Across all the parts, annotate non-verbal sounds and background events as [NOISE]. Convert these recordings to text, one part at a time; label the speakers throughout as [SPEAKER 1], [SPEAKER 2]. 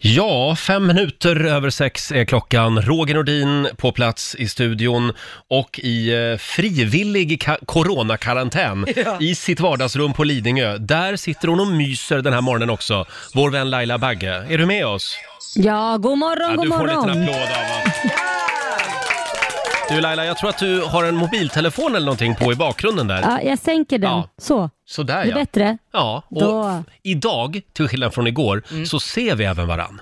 [SPEAKER 1] Ja, fem minuter över sex är klockan. Roger Nordin på plats i studion och i eh, frivillig ka- coronakarantän
[SPEAKER 2] Ja.
[SPEAKER 1] i sitt vardagsrum på Lidingö. Där sitter hon och myser den här morgonen också, vår vän Laila Bagge. Är du med oss?
[SPEAKER 3] Ja, god morgon,
[SPEAKER 1] Ja,
[SPEAKER 3] god
[SPEAKER 1] du får en liten
[SPEAKER 3] morgon.
[SPEAKER 1] applåd av oss. Du Laila, jag tror att du har en mobiltelefon eller någonting på i bakgrunden där.
[SPEAKER 3] Ja, jag sänker den.
[SPEAKER 1] Ja.
[SPEAKER 3] Så.
[SPEAKER 1] Sådär
[SPEAKER 3] Det är
[SPEAKER 1] ja.
[SPEAKER 3] bättre.
[SPEAKER 1] Ja, och
[SPEAKER 3] Då. Mm.
[SPEAKER 1] f- idag, till skillnad från igår, så ser vi även varann.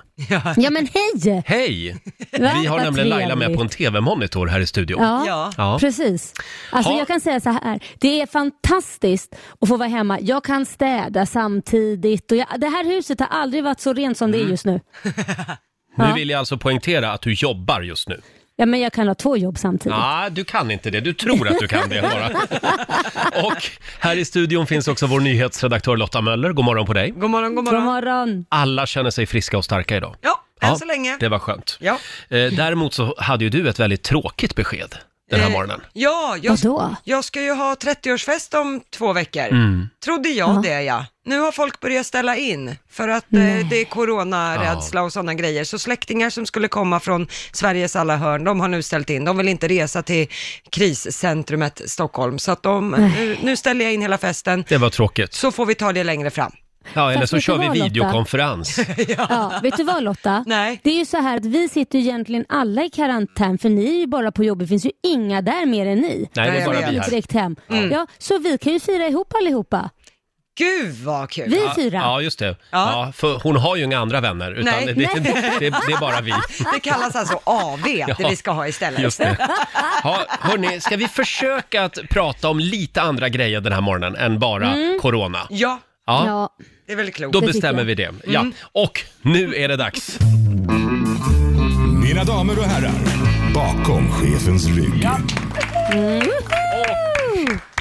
[SPEAKER 3] Ja, men hej! [LAUGHS]
[SPEAKER 1] Hej!
[SPEAKER 3] Va?
[SPEAKER 1] Vi har
[SPEAKER 3] Vad
[SPEAKER 1] nämligen Laila med
[SPEAKER 3] trevligt.
[SPEAKER 1] på en TV-monitor här i studion.
[SPEAKER 3] Ja,
[SPEAKER 2] Ja.
[SPEAKER 1] Ja.
[SPEAKER 3] precis. Alltså
[SPEAKER 1] Ha.
[SPEAKER 3] jag kan säga så här, det är fantastiskt att få vara hemma. Jag kan städa samtidigt och jag, det här huset har aldrig varit så rent som
[SPEAKER 1] Mm.
[SPEAKER 3] det är just nu.
[SPEAKER 1] Nu
[SPEAKER 3] Ja.
[SPEAKER 1] vill jag alltså poängtera att du jobbar just nu.
[SPEAKER 3] Ja, men jag kan ha två jobb samtidigt.
[SPEAKER 1] Nej, du kan inte det. Du tror att du kan det bara.
[SPEAKER 3] [LAUGHS]
[SPEAKER 1] Och här i studion finns också vår nyhetsredaktör Lotta Möller. God morgon på dig.
[SPEAKER 2] God morgon, god
[SPEAKER 3] God
[SPEAKER 2] morgon.
[SPEAKER 3] morgon.
[SPEAKER 1] Alla känner sig friska och starka idag.
[SPEAKER 2] Ja, än
[SPEAKER 1] Ja,
[SPEAKER 2] så länge.
[SPEAKER 1] Det var skönt.
[SPEAKER 2] Ja.
[SPEAKER 1] Eh, Däremot så hade ju du ett väldigt tråkigt besked den här
[SPEAKER 2] Eh,
[SPEAKER 1] morgonen.
[SPEAKER 2] Ja, jag,
[SPEAKER 3] Vadå?
[SPEAKER 2] jag ska ju ha 30-årsfest om två veckor.
[SPEAKER 1] Mm.
[SPEAKER 2] Trodde jag det ja. Nu har folk börjat ställa in för att eh, det är coronarädsla och sådana grejer. Så släktingar som skulle komma från Sveriges alla hörn, de har nu ställt in. De vill inte resa till kriscentrumet Stockholm. Så att de, nu, nu ställer jag in hela festen,
[SPEAKER 1] Det var tråkigt.
[SPEAKER 2] så får vi ta det längre fram.
[SPEAKER 1] Ja, eller
[SPEAKER 3] Fast
[SPEAKER 1] så
[SPEAKER 3] vet
[SPEAKER 1] kör
[SPEAKER 3] du vad,
[SPEAKER 1] vi
[SPEAKER 3] Lotta? [LAUGHS]
[SPEAKER 1] videokonferens.
[SPEAKER 3] Ja, vet du vad Lotta?
[SPEAKER 2] Nej.
[SPEAKER 3] Det är ju så här att vi sitter ju egentligen alla i karantän för ni är ju bara på jobbet. Det finns ju inga där mer än ni.
[SPEAKER 1] Nej, det
[SPEAKER 2] Nej,
[SPEAKER 1] är
[SPEAKER 2] jag
[SPEAKER 1] bara
[SPEAKER 2] vet.
[SPEAKER 1] vi
[SPEAKER 3] Gick
[SPEAKER 1] här. Mm.
[SPEAKER 3] direkt hem. Ja, så vi kan ju fira ihop allihopa.
[SPEAKER 2] Gud vad kul!
[SPEAKER 3] Vi fyra.
[SPEAKER 1] Ja, just det. Ja, för hon har ju inga andra vänner, utan
[SPEAKER 2] Nej.
[SPEAKER 1] det, det, det, det är bara vi.
[SPEAKER 2] Det kallas alltså AV, [LAUGHS] det vi ska ha istället.
[SPEAKER 1] Just det. Ja, hörni, ska vi försöka att prata om lite andra grejer den här morgonen än bara corona?
[SPEAKER 2] Mm. Ja,
[SPEAKER 1] Ja,
[SPEAKER 3] Ja.
[SPEAKER 2] det Mm. är väl klokt.
[SPEAKER 1] då
[SPEAKER 3] det
[SPEAKER 1] bestämmer vi
[SPEAKER 3] tycker
[SPEAKER 1] det. Ja. Och nu är det dags.
[SPEAKER 4] Mina damer och herrar, bakom chefens rygg.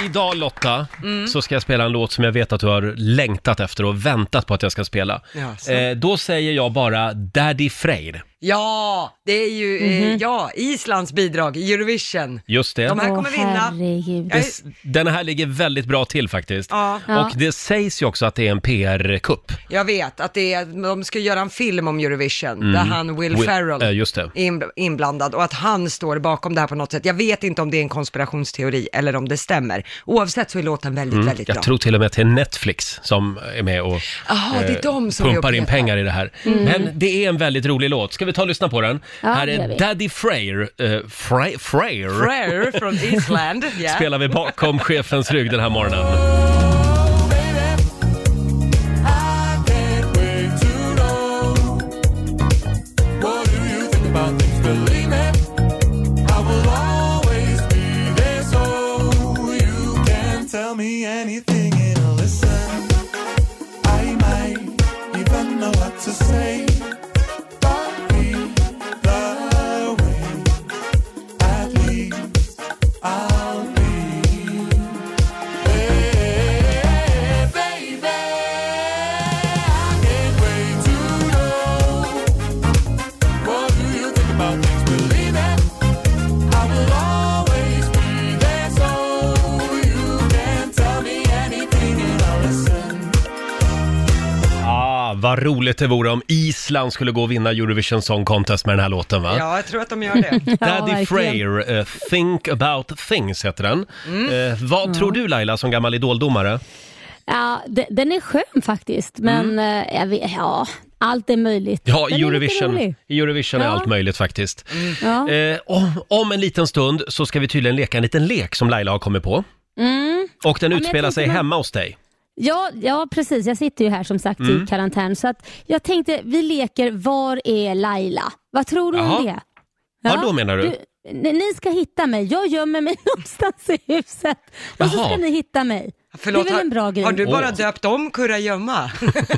[SPEAKER 1] Idag Lotta,
[SPEAKER 2] Mm.
[SPEAKER 1] så ska jag spela en låt som jag vet att du har längtat efter och väntat på att jag ska spela.
[SPEAKER 2] Jaså.
[SPEAKER 1] Eh, då säger jag bara Daddy Freyr.
[SPEAKER 2] Ja, det är ju
[SPEAKER 1] Mhm.
[SPEAKER 2] eh, ja, Islands bidrag i Eurovision.
[SPEAKER 1] Just det.
[SPEAKER 2] De här
[SPEAKER 3] Åh,
[SPEAKER 2] kommer vinna.
[SPEAKER 3] herregud.
[SPEAKER 2] Jag är,
[SPEAKER 1] S- Den här ligger väldigt bra till faktiskt.
[SPEAKER 2] Ja.
[SPEAKER 3] Ja.
[SPEAKER 1] Och det sägs ju också att det är en PR-kupp.
[SPEAKER 2] jag vet att det är, de ska göra en film om Eurovision där han Will,
[SPEAKER 1] Mm. Will-
[SPEAKER 2] Ferrell
[SPEAKER 1] eh, just det.
[SPEAKER 2] är in- inblandad och att han står bakom det här på något sätt. Jag vet inte om det är en konspirationsteori eller om det stämmer. Oavsett så är låten väldigt, väldigt bra.
[SPEAKER 1] Mm, Jag tror till och med till Netflix som är med och
[SPEAKER 2] Jaha, det är de som Mm. är och
[SPEAKER 1] eh, pumpar in
[SPEAKER 2] petar.
[SPEAKER 1] pengar i det här. Men det är en väldigt rolig låt. Ska vi ta och lyssna på den?
[SPEAKER 3] Ja,
[SPEAKER 1] här
[SPEAKER 3] det gör
[SPEAKER 1] är
[SPEAKER 3] vi.
[SPEAKER 1] Daddy Freyr. eh, Frey- Freyr.
[SPEAKER 2] Prayer från
[SPEAKER 1] [LAUGHS]
[SPEAKER 2] Island. Yeah.
[SPEAKER 1] Spelar vi bakom chefens rygg den här morgonen.
[SPEAKER 5] Tell me anything and I'll listen. I might even know what to say. But be the way. At least I'll be. Hey, baby, I can't wait to know. What do you think about things? Believe it. I will always be there, so you can tell me anything and I'll listen.
[SPEAKER 1] Ah, vad roligt det vore om Island skulle gå och vinna Eurovision Song Contest med den här låten va?
[SPEAKER 2] Ja, jag tror att de
[SPEAKER 1] [LAUGHS]
[SPEAKER 2] gör det.
[SPEAKER 1] Daddy
[SPEAKER 3] verkligen.
[SPEAKER 1] Freyr, eh, Think about things heter den.
[SPEAKER 2] Mm.
[SPEAKER 1] Eh, vad tror du Laila som gammal idoldomare?
[SPEAKER 3] Ja, de- den är skön faktiskt, men eh, jag vet, ja, allt är möjligt.
[SPEAKER 1] Mm. Ja,
[SPEAKER 3] Den
[SPEAKER 1] i
[SPEAKER 3] är lite
[SPEAKER 1] Eurovision,
[SPEAKER 3] rolig.
[SPEAKER 1] i Eurovision är
[SPEAKER 3] Ja.
[SPEAKER 1] allt möjligt faktiskt.
[SPEAKER 3] Ja.
[SPEAKER 1] Eh, om, om en liten stund så ska vi tydligen leka en liten lek som Laila har kommit på. Och den
[SPEAKER 3] Mm. men jag
[SPEAKER 1] utspelar sig
[SPEAKER 3] tänkte man-
[SPEAKER 1] hemma hos dig.
[SPEAKER 3] Ja, ja, precis. Jag sitter ju här som sagt
[SPEAKER 1] Mm.
[SPEAKER 3] i karantän, så att jag tänkte vi leker Var är Laila? Vad tror du
[SPEAKER 1] Jaha.
[SPEAKER 3] om det?
[SPEAKER 1] Vadå menar du?
[SPEAKER 3] ni, ni ska hitta mig. Jag gömmer mig [LAUGHS] någonstans i huset och så
[SPEAKER 1] Jaha.
[SPEAKER 3] ska ni hitta mig.
[SPEAKER 2] Förlåt,
[SPEAKER 3] det är väl en bra
[SPEAKER 2] har,
[SPEAKER 3] grej?
[SPEAKER 2] har du bara
[SPEAKER 1] Åh.
[SPEAKER 2] döpt
[SPEAKER 1] [LAUGHS]
[SPEAKER 2] om kurragömma?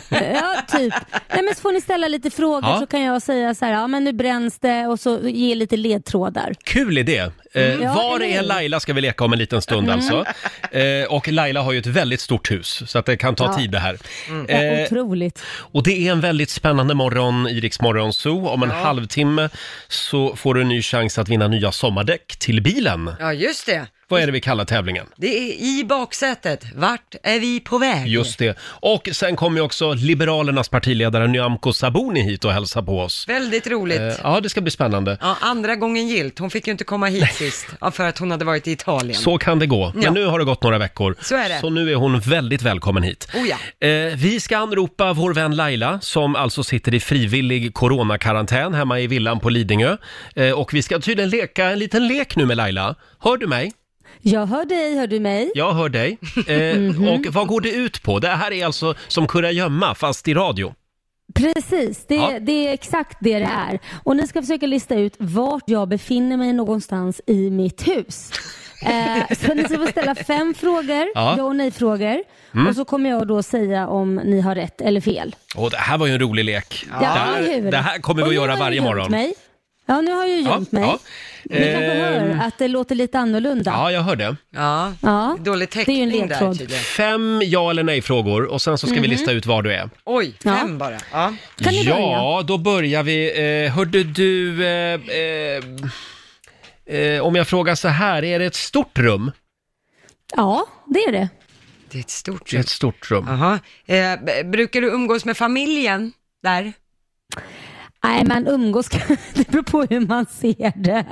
[SPEAKER 3] [LAUGHS] Ja, typ. Nej, men så får ni ställa lite frågor
[SPEAKER 1] Ja.
[SPEAKER 3] så kan jag säga så här, ja men nu bränns det och så ge lite ledtrådar.
[SPEAKER 1] Kul idé! Eh,
[SPEAKER 3] Mm. Ja,
[SPEAKER 1] var
[SPEAKER 3] eller
[SPEAKER 1] är
[SPEAKER 3] hur? Mm.
[SPEAKER 1] Laila ska vi leka om en liten stund alltså. Eh, och Laila har ju ett väldigt stort hus, så att det kan ta
[SPEAKER 3] Ja. Mm.
[SPEAKER 1] tid det här.
[SPEAKER 3] Ja,
[SPEAKER 1] Eh,
[SPEAKER 3] otroligt.
[SPEAKER 1] och det är en väldigt spännande morgon i Rix Morgon Zoo. Om en halvtimme så får du en ny chans att vinna nya sommardäck till bilen.
[SPEAKER 2] Ja, just det.
[SPEAKER 1] Vad är det vi kallar tävlingen?
[SPEAKER 2] Det är i baksätet. Vart är vi på väg?
[SPEAKER 1] Just det. Och sen kommer ju också Liberalernas partiledare Nyamko Sabuni hit och hälsa på oss.
[SPEAKER 2] Väldigt roligt.
[SPEAKER 1] Eh, Ja, det ska bli spännande.
[SPEAKER 2] Ja, andra gången gilt. Hon fick ju inte komma hit sist ja, för att hon hade varit i Italien.
[SPEAKER 1] Så kan det gå. Men
[SPEAKER 2] Ja.
[SPEAKER 1] nu har det gått några veckor.
[SPEAKER 2] Så är det.
[SPEAKER 1] Så nu är hon väldigt välkommen hit.
[SPEAKER 2] Oh ja.
[SPEAKER 1] Eh, vi ska anropa vår vän Laila som alltså sitter i frivillig coronakarantän hemma i villan på Lidingö. Eh, och vi ska tydligen leka en liten lek nu med Laila. Hör du mig?
[SPEAKER 3] Jag hör dig, hör du mig?
[SPEAKER 1] Jag hör dig. Eh, Och vad går det ut på? Det här är alltså som kurragömma fast i radio.
[SPEAKER 3] Precis, det,
[SPEAKER 1] Ja.
[SPEAKER 3] det är exakt det det är. Och ni ska försöka lista ut vart jag befinner mig någonstans i mitt hus. Eh, så ni ska få ställa fem frågor,
[SPEAKER 1] Ja. Mm.
[SPEAKER 3] ja, och nej-frågor. Och så kommer jag då säga om ni har rätt eller fel.
[SPEAKER 1] Och det här var ju en rolig lek.
[SPEAKER 3] Ja,
[SPEAKER 1] det, här,
[SPEAKER 3] hur?
[SPEAKER 1] det här kommer vi
[SPEAKER 3] Och
[SPEAKER 1] att
[SPEAKER 3] nu har
[SPEAKER 1] göra
[SPEAKER 3] jag
[SPEAKER 1] varje
[SPEAKER 3] gömt
[SPEAKER 1] morgon.
[SPEAKER 3] Mig. Ja, nu har jag ju
[SPEAKER 1] Ja,
[SPEAKER 3] gömt mig.
[SPEAKER 1] ja.
[SPEAKER 3] Ni kanske hör att det låter lite annorlunda.
[SPEAKER 1] Ehm. Ja, jag hör det.
[SPEAKER 2] Ja,
[SPEAKER 3] Ja.
[SPEAKER 2] dålig
[SPEAKER 3] Det är ju en
[SPEAKER 2] täckning där
[SPEAKER 3] ledtråd.
[SPEAKER 2] tydligen.
[SPEAKER 1] Fem ja eller nej-frågor och sen så ska vi lista ut var du är.
[SPEAKER 2] Oj,
[SPEAKER 3] Ja.
[SPEAKER 2] fem bara. Ja.
[SPEAKER 3] Mhm. Kan ni
[SPEAKER 1] ja,
[SPEAKER 3] börja?
[SPEAKER 1] då börjar vi. Eh, hörde du... Eh, eh, eh, om jag frågar så här, är det ett stort rum?
[SPEAKER 3] ja, det är det.
[SPEAKER 2] Det är ett stort
[SPEAKER 1] Det är
[SPEAKER 2] rum.
[SPEAKER 1] ett stort rum.
[SPEAKER 2] Jaha. Eh, b- brukar du umgås med familjen där?
[SPEAKER 3] Nej, man umgås [LAUGHS] Det beror på hur man ser det.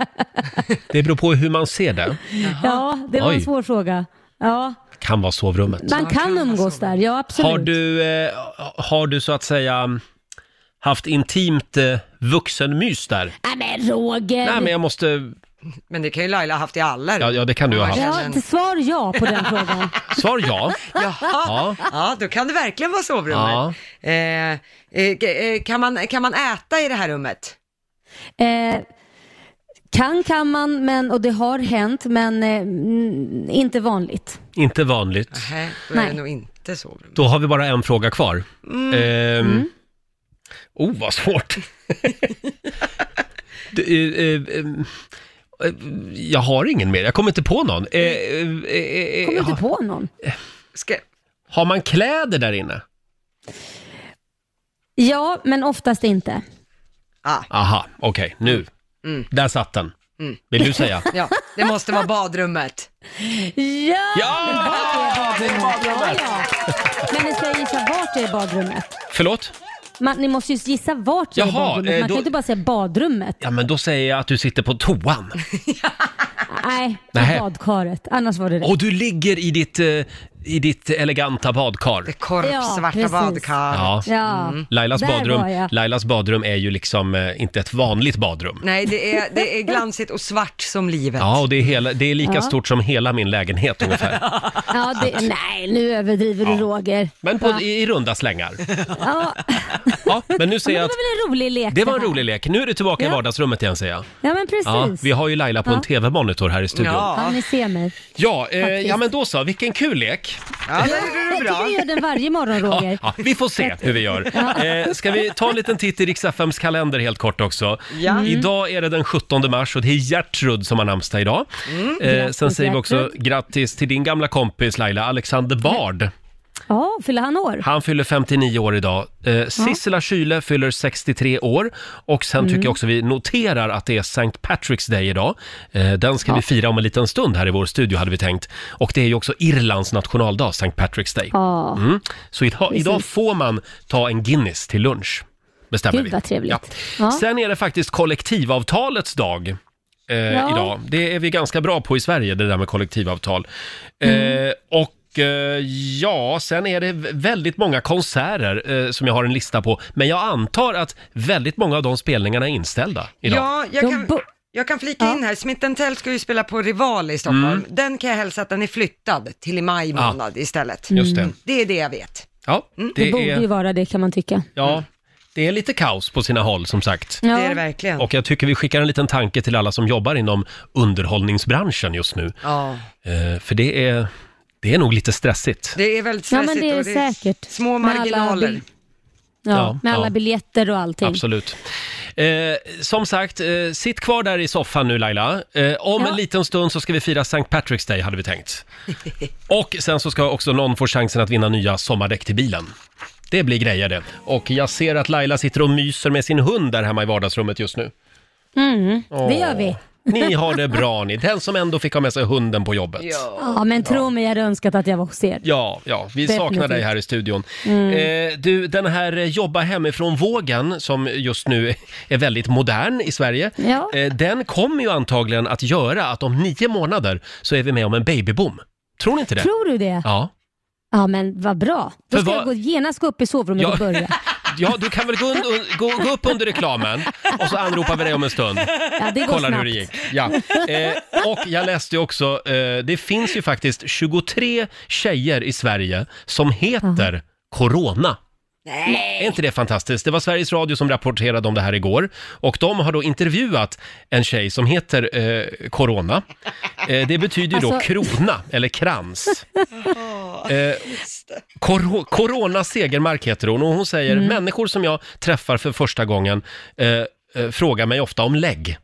[SPEAKER 1] Det beror på hur man ser det.
[SPEAKER 3] Ja, det var
[SPEAKER 1] Oj.
[SPEAKER 3] en svår fråga. Ja,
[SPEAKER 1] Kan vara sovrummet.
[SPEAKER 3] man kan umgås där, ja absolut.
[SPEAKER 1] Har du, eh, har du så att säga haft intimt eh, vuxenmys där?
[SPEAKER 3] Nej men Roger!
[SPEAKER 1] Nej, men jag måste...
[SPEAKER 2] Men det kan ju Laila ha haft i alla
[SPEAKER 1] Ja,
[SPEAKER 2] rum.
[SPEAKER 1] ja det kan du ha haft.
[SPEAKER 3] Ja,
[SPEAKER 2] men-
[SPEAKER 3] till svar ja
[SPEAKER 1] [LAUGHS]
[SPEAKER 3] på den frågan.
[SPEAKER 1] Svar ja.
[SPEAKER 2] Jaha. Ja, då kan det verkligen vara sovrummet. Eh, eh, k- eh, kan, man, kan man äta i det här rummet?
[SPEAKER 3] Eh, kan kan man, men, och det har hänt, men eh, mm, inte vanligt.
[SPEAKER 1] Inte vanligt.
[SPEAKER 2] Nej, då är
[SPEAKER 3] Nej.
[SPEAKER 2] det nog inte sovrummet.
[SPEAKER 1] Då har vi bara en fråga kvar. Ehm, Oh, vad svårt. Det, eh, eh, eh, jag har ingen mer, jag kommer inte på någon. Eh, eh, eh,
[SPEAKER 3] Kommer
[SPEAKER 1] eh,
[SPEAKER 3] inte på någon.
[SPEAKER 2] Ska,
[SPEAKER 1] Har man kläder där inne?
[SPEAKER 3] Ja, men oftast inte.
[SPEAKER 2] ah,
[SPEAKER 1] Aha, okej, nu. Där satt den. Vill du säga?
[SPEAKER 2] ja, det måste vara badrummet.
[SPEAKER 3] Ja!
[SPEAKER 1] Ja!
[SPEAKER 3] Det är badrummet. Ja, ja. Men ni ska gissa vart det är badrummet.
[SPEAKER 1] Förlåt?
[SPEAKER 3] Man, ni måste ju gissa vart det är
[SPEAKER 1] Jaha,
[SPEAKER 3] badrummet. Man
[SPEAKER 1] eh, då-
[SPEAKER 3] kan ju inte bara säga badrummet.
[SPEAKER 1] Ja, men då säger jag att du sitter på toan.
[SPEAKER 3] Nej,
[SPEAKER 1] Nähä.
[SPEAKER 3] badkaret. Annars var det rätt.
[SPEAKER 1] Och du ligger i ditt, eh, i ditt eleganta badkar.
[SPEAKER 2] Det korpsvarta
[SPEAKER 3] Ja, precis.
[SPEAKER 2] badkar.
[SPEAKER 1] Ja.
[SPEAKER 3] Ja.
[SPEAKER 1] Lailas
[SPEAKER 3] Där var
[SPEAKER 1] badrum,
[SPEAKER 3] jag.
[SPEAKER 1] Lailas badrum är ju liksom eh, inte ett vanligt badrum.
[SPEAKER 2] Nej, det är, det är
[SPEAKER 3] [LAUGHS]
[SPEAKER 2] glansigt och svart som livet.
[SPEAKER 1] Ja, och det är, hela, det är lika
[SPEAKER 3] Ja.
[SPEAKER 1] stort som hela min lägenhet ungefär.
[SPEAKER 3] [LAUGHS] Ja, det, nej, nu överdriver du Roger.
[SPEAKER 1] Men på,
[SPEAKER 3] Va?
[SPEAKER 1] i, i runda slängar.
[SPEAKER 3] ja.
[SPEAKER 1] Ja, men [LAUGHS] nu
[SPEAKER 3] Men
[SPEAKER 1] ser
[SPEAKER 3] det
[SPEAKER 1] jag
[SPEAKER 3] var
[SPEAKER 1] att
[SPEAKER 3] väl en rolig lek
[SPEAKER 1] det var en
[SPEAKER 3] här.
[SPEAKER 1] rolig lek. Nu är du tillbaka i
[SPEAKER 3] Ja.
[SPEAKER 1] vardagsrummet igen säger jag.
[SPEAKER 3] Ja, men precis.
[SPEAKER 1] Ja,
[SPEAKER 3] Ja,
[SPEAKER 1] vi har ju Laila på en
[SPEAKER 3] Ja.
[SPEAKER 1] TV-monitor här i studion. Ja,
[SPEAKER 2] Ja,
[SPEAKER 3] ni ser mig.
[SPEAKER 1] eh, ja men då så, vilken kul lek.
[SPEAKER 2] ja det gjorde
[SPEAKER 3] Jag
[SPEAKER 2] du
[SPEAKER 3] tycker
[SPEAKER 2] bra.
[SPEAKER 3] vi gör den varje morgon Roger.
[SPEAKER 1] Ja, vi får se hur vi gör. Eh, ska vi ta en liten titt i Riks-FMs kalender helt kort också?
[SPEAKER 2] Ja. Mm.
[SPEAKER 1] Idag är det den 17 mars och det är Gertrud som har namnsdag idag. Eh, sen
[SPEAKER 3] Mm. Grattis,
[SPEAKER 1] säger vi också
[SPEAKER 3] Gertrud.
[SPEAKER 1] grattis till din gamla kompis Laila, Alexander Bard.
[SPEAKER 3] Ja, fyller han år?
[SPEAKER 1] Han fyller 59 år idag. Eh, Sissela Kyle fyller 63 år. Och
[SPEAKER 3] Mm.
[SPEAKER 1] sen tycker jag också vi noterar att det är St. Patrick's Day idag. Eh, den ska vi fira om en liten stund här i vår studio hade vi tänkt. Och det är ju också Irlands nationaldag, St. Patrick's Day.
[SPEAKER 3] Ja,
[SPEAKER 1] Mm. Så idag,
[SPEAKER 3] Precis.
[SPEAKER 1] idag får man ta en Guinness till lunch. Bestämmer
[SPEAKER 3] gud
[SPEAKER 1] vi.
[SPEAKER 3] vad trevligt.
[SPEAKER 1] Ja.
[SPEAKER 3] Ja. Ja.
[SPEAKER 1] Sen är det faktiskt kollektivavtalets dag. Eh,
[SPEAKER 3] Ja.
[SPEAKER 1] Idag. Det är vi ganska bra på i Sverige, det där med kollektivavtal. Eh,
[SPEAKER 3] Mm.
[SPEAKER 1] och eh, ja, sen är det v- väldigt många konserter eh, som jag har en lista på. Men jag antar att väldigt många av de spelningarna är inställda idag.
[SPEAKER 2] Ja, jag
[SPEAKER 3] De
[SPEAKER 2] kan,
[SPEAKER 3] bo-
[SPEAKER 2] jag kan flika in här. Smith Tell ska ju spela på Rival i Stockholm.
[SPEAKER 1] Mm.
[SPEAKER 2] Den kan jag hälsa att den är flyttad till i maj månad istället.
[SPEAKER 1] Just det.
[SPEAKER 2] Det är det jag vet.
[SPEAKER 1] Ja,
[SPEAKER 3] Mm. Det, borde
[SPEAKER 1] det
[SPEAKER 3] ju
[SPEAKER 1] är,
[SPEAKER 3] vara det kan man tycka.
[SPEAKER 1] ja, det är lite kaos på sina håll som sagt.
[SPEAKER 3] Ja.
[SPEAKER 2] Det är det verkligen.
[SPEAKER 1] Och jag tycker vi skickar en liten tanke till alla som jobbar inom underhållningsbranschen just nu.
[SPEAKER 2] Ja,
[SPEAKER 1] Eh, för det är, det är nog lite stressigt.
[SPEAKER 2] det är väldigt
[SPEAKER 3] Ja,
[SPEAKER 2] stressigt.
[SPEAKER 3] men det är
[SPEAKER 2] och
[SPEAKER 3] säkert.
[SPEAKER 2] Små
[SPEAKER 3] Med alla
[SPEAKER 2] marginaler.
[SPEAKER 3] bil- Ja,
[SPEAKER 1] Ja,
[SPEAKER 3] med alla
[SPEAKER 1] ja.
[SPEAKER 3] biljetter och allting.
[SPEAKER 1] Absolut. Eh, som sagt, eh, sitt kvar där i soffan nu Laila. Eh, om
[SPEAKER 3] Ja.
[SPEAKER 1] en liten stund så ska vi fira St. Patrick's Day hade vi
[SPEAKER 3] [LAUGHS]
[SPEAKER 1] tänkt. Och sen så ska också någon få chansen att vinna nya sommardäck till bilen. Det blir grejer det. Och jag ser att Laila sitter och myser med sin hund där hemma i vardagsrummet just nu.
[SPEAKER 3] Mm, det gör vi.
[SPEAKER 1] Åh, Ni har det bra ni. Den som ändå fick ha med sig hunden på jobbet.
[SPEAKER 3] Ja, men tro mig, jag hade önskat att jag var hos er.
[SPEAKER 1] Ja, ja, vi saknar
[SPEAKER 3] Definitivt. Mm.
[SPEAKER 1] dig här i studion. Eh, du, den här eh, jobba hemifrån-vågen som just nu [LAUGHS] är väldigt modern i Sverige,
[SPEAKER 3] Ja.
[SPEAKER 1] eh, den kommer ju antagligen att göra att om nio månader så är vi med om en babyboom. Tror ni inte det?
[SPEAKER 3] Tror du det? Ja,
[SPEAKER 1] Ja.
[SPEAKER 3] men vad bra. Då
[SPEAKER 1] För
[SPEAKER 3] ska
[SPEAKER 1] vad-
[SPEAKER 3] jag gå, genast gå upp i sovrummet
[SPEAKER 1] Ja.
[SPEAKER 3] och börja.
[SPEAKER 1] ja, du kan väl gå, und- un- gå, gå upp under reklamen och så anropar vi dig om en stund.
[SPEAKER 3] Ja,
[SPEAKER 1] [LAUGHS]
[SPEAKER 3] det går
[SPEAKER 1] Kollar
[SPEAKER 3] snabbt.
[SPEAKER 1] hur det gick. Ja. Eh, och jag läste ju också, eh, det finns ju faktiskt 23 tjejer i Sverige som heter Corona. Är inte det fantastiskt? Det var Sveriges Radio som rapporterade om det här igår och de har då intervjuat en tjej som heter eh, Corona. Eh, det betyder ju då
[SPEAKER 3] Alltså-
[SPEAKER 1] krona eller krans. Eh, Cor- Corona Segermark heter hon och hon säger människor som jag träffar för första gången eh, eh, frågar mig ofta om lägg.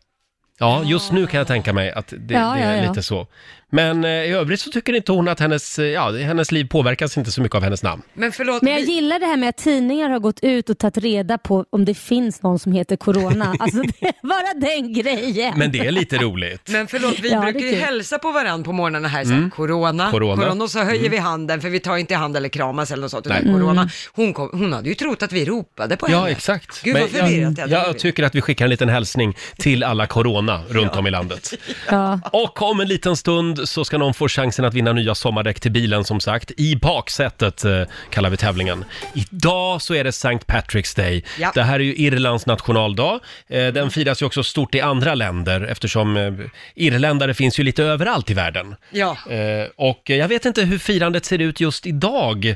[SPEAKER 1] Ja, just nu kan jag tänka mig att det,
[SPEAKER 3] Ja,
[SPEAKER 1] det är
[SPEAKER 3] ja, ja.
[SPEAKER 1] lite så. Men eh, i övrigt så tycker inte hon att hennes, eh, ja, hennes liv påverkas inte så mycket av hennes namn.
[SPEAKER 2] Men förlåt,
[SPEAKER 3] Men jag
[SPEAKER 2] vi,
[SPEAKER 3] gillar det här med att tidningar har gått ut och tagit reda på om det finns någon som
[SPEAKER 1] [LAUGHS]
[SPEAKER 3] heter Corona. Alltså, det, bara den grejen.
[SPEAKER 1] Men det är lite roligt.
[SPEAKER 2] [LAUGHS] men förlåt, vi
[SPEAKER 3] Ja, det är
[SPEAKER 2] brukar ju
[SPEAKER 3] kul.
[SPEAKER 2] hälsa på varandra på morgnarna här, så här corona,
[SPEAKER 1] Mm. Corona. Mm.
[SPEAKER 2] corona, och så höjer vi handen, för vi tar inte hand eller kramas eller något sånt, utan
[SPEAKER 1] Nej.
[SPEAKER 2] corona.
[SPEAKER 3] Mm.
[SPEAKER 2] Hon, kom, hon hade ju trott att vi ropade på
[SPEAKER 1] Ja,
[SPEAKER 2] henne.
[SPEAKER 1] exakt.
[SPEAKER 2] Gud, vad förvirrat
[SPEAKER 1] jag,
[SPEAKER 2] jag
[SPEAKER 1] jag
[SPEAKER 2] blev.
[SPEAKER 1] tycker att vi skickar en liten hälsning till alla corona runt om i landet.
[SPEAKER 3] Ja.
[SPEAKER 1] Och om en liten stund så ska någon få chansen att vinna nya sommardäck till bilen som sagt. I baksätet eh, kallar vi tävlingen. Idag så är det St. Patrick's Day.
[SPEAKER 2] Ja.
[SPEAKER 1] Det här är ju Irlands nationaldag. Eh, den firas ju också stort i andra länder eftersom eh, irländare finns ju lite överallt i världen.
[SPEAKER 2] Ja.
[SPEAKER 1] Eh, och jag vet inte hur firandet ser ut just idag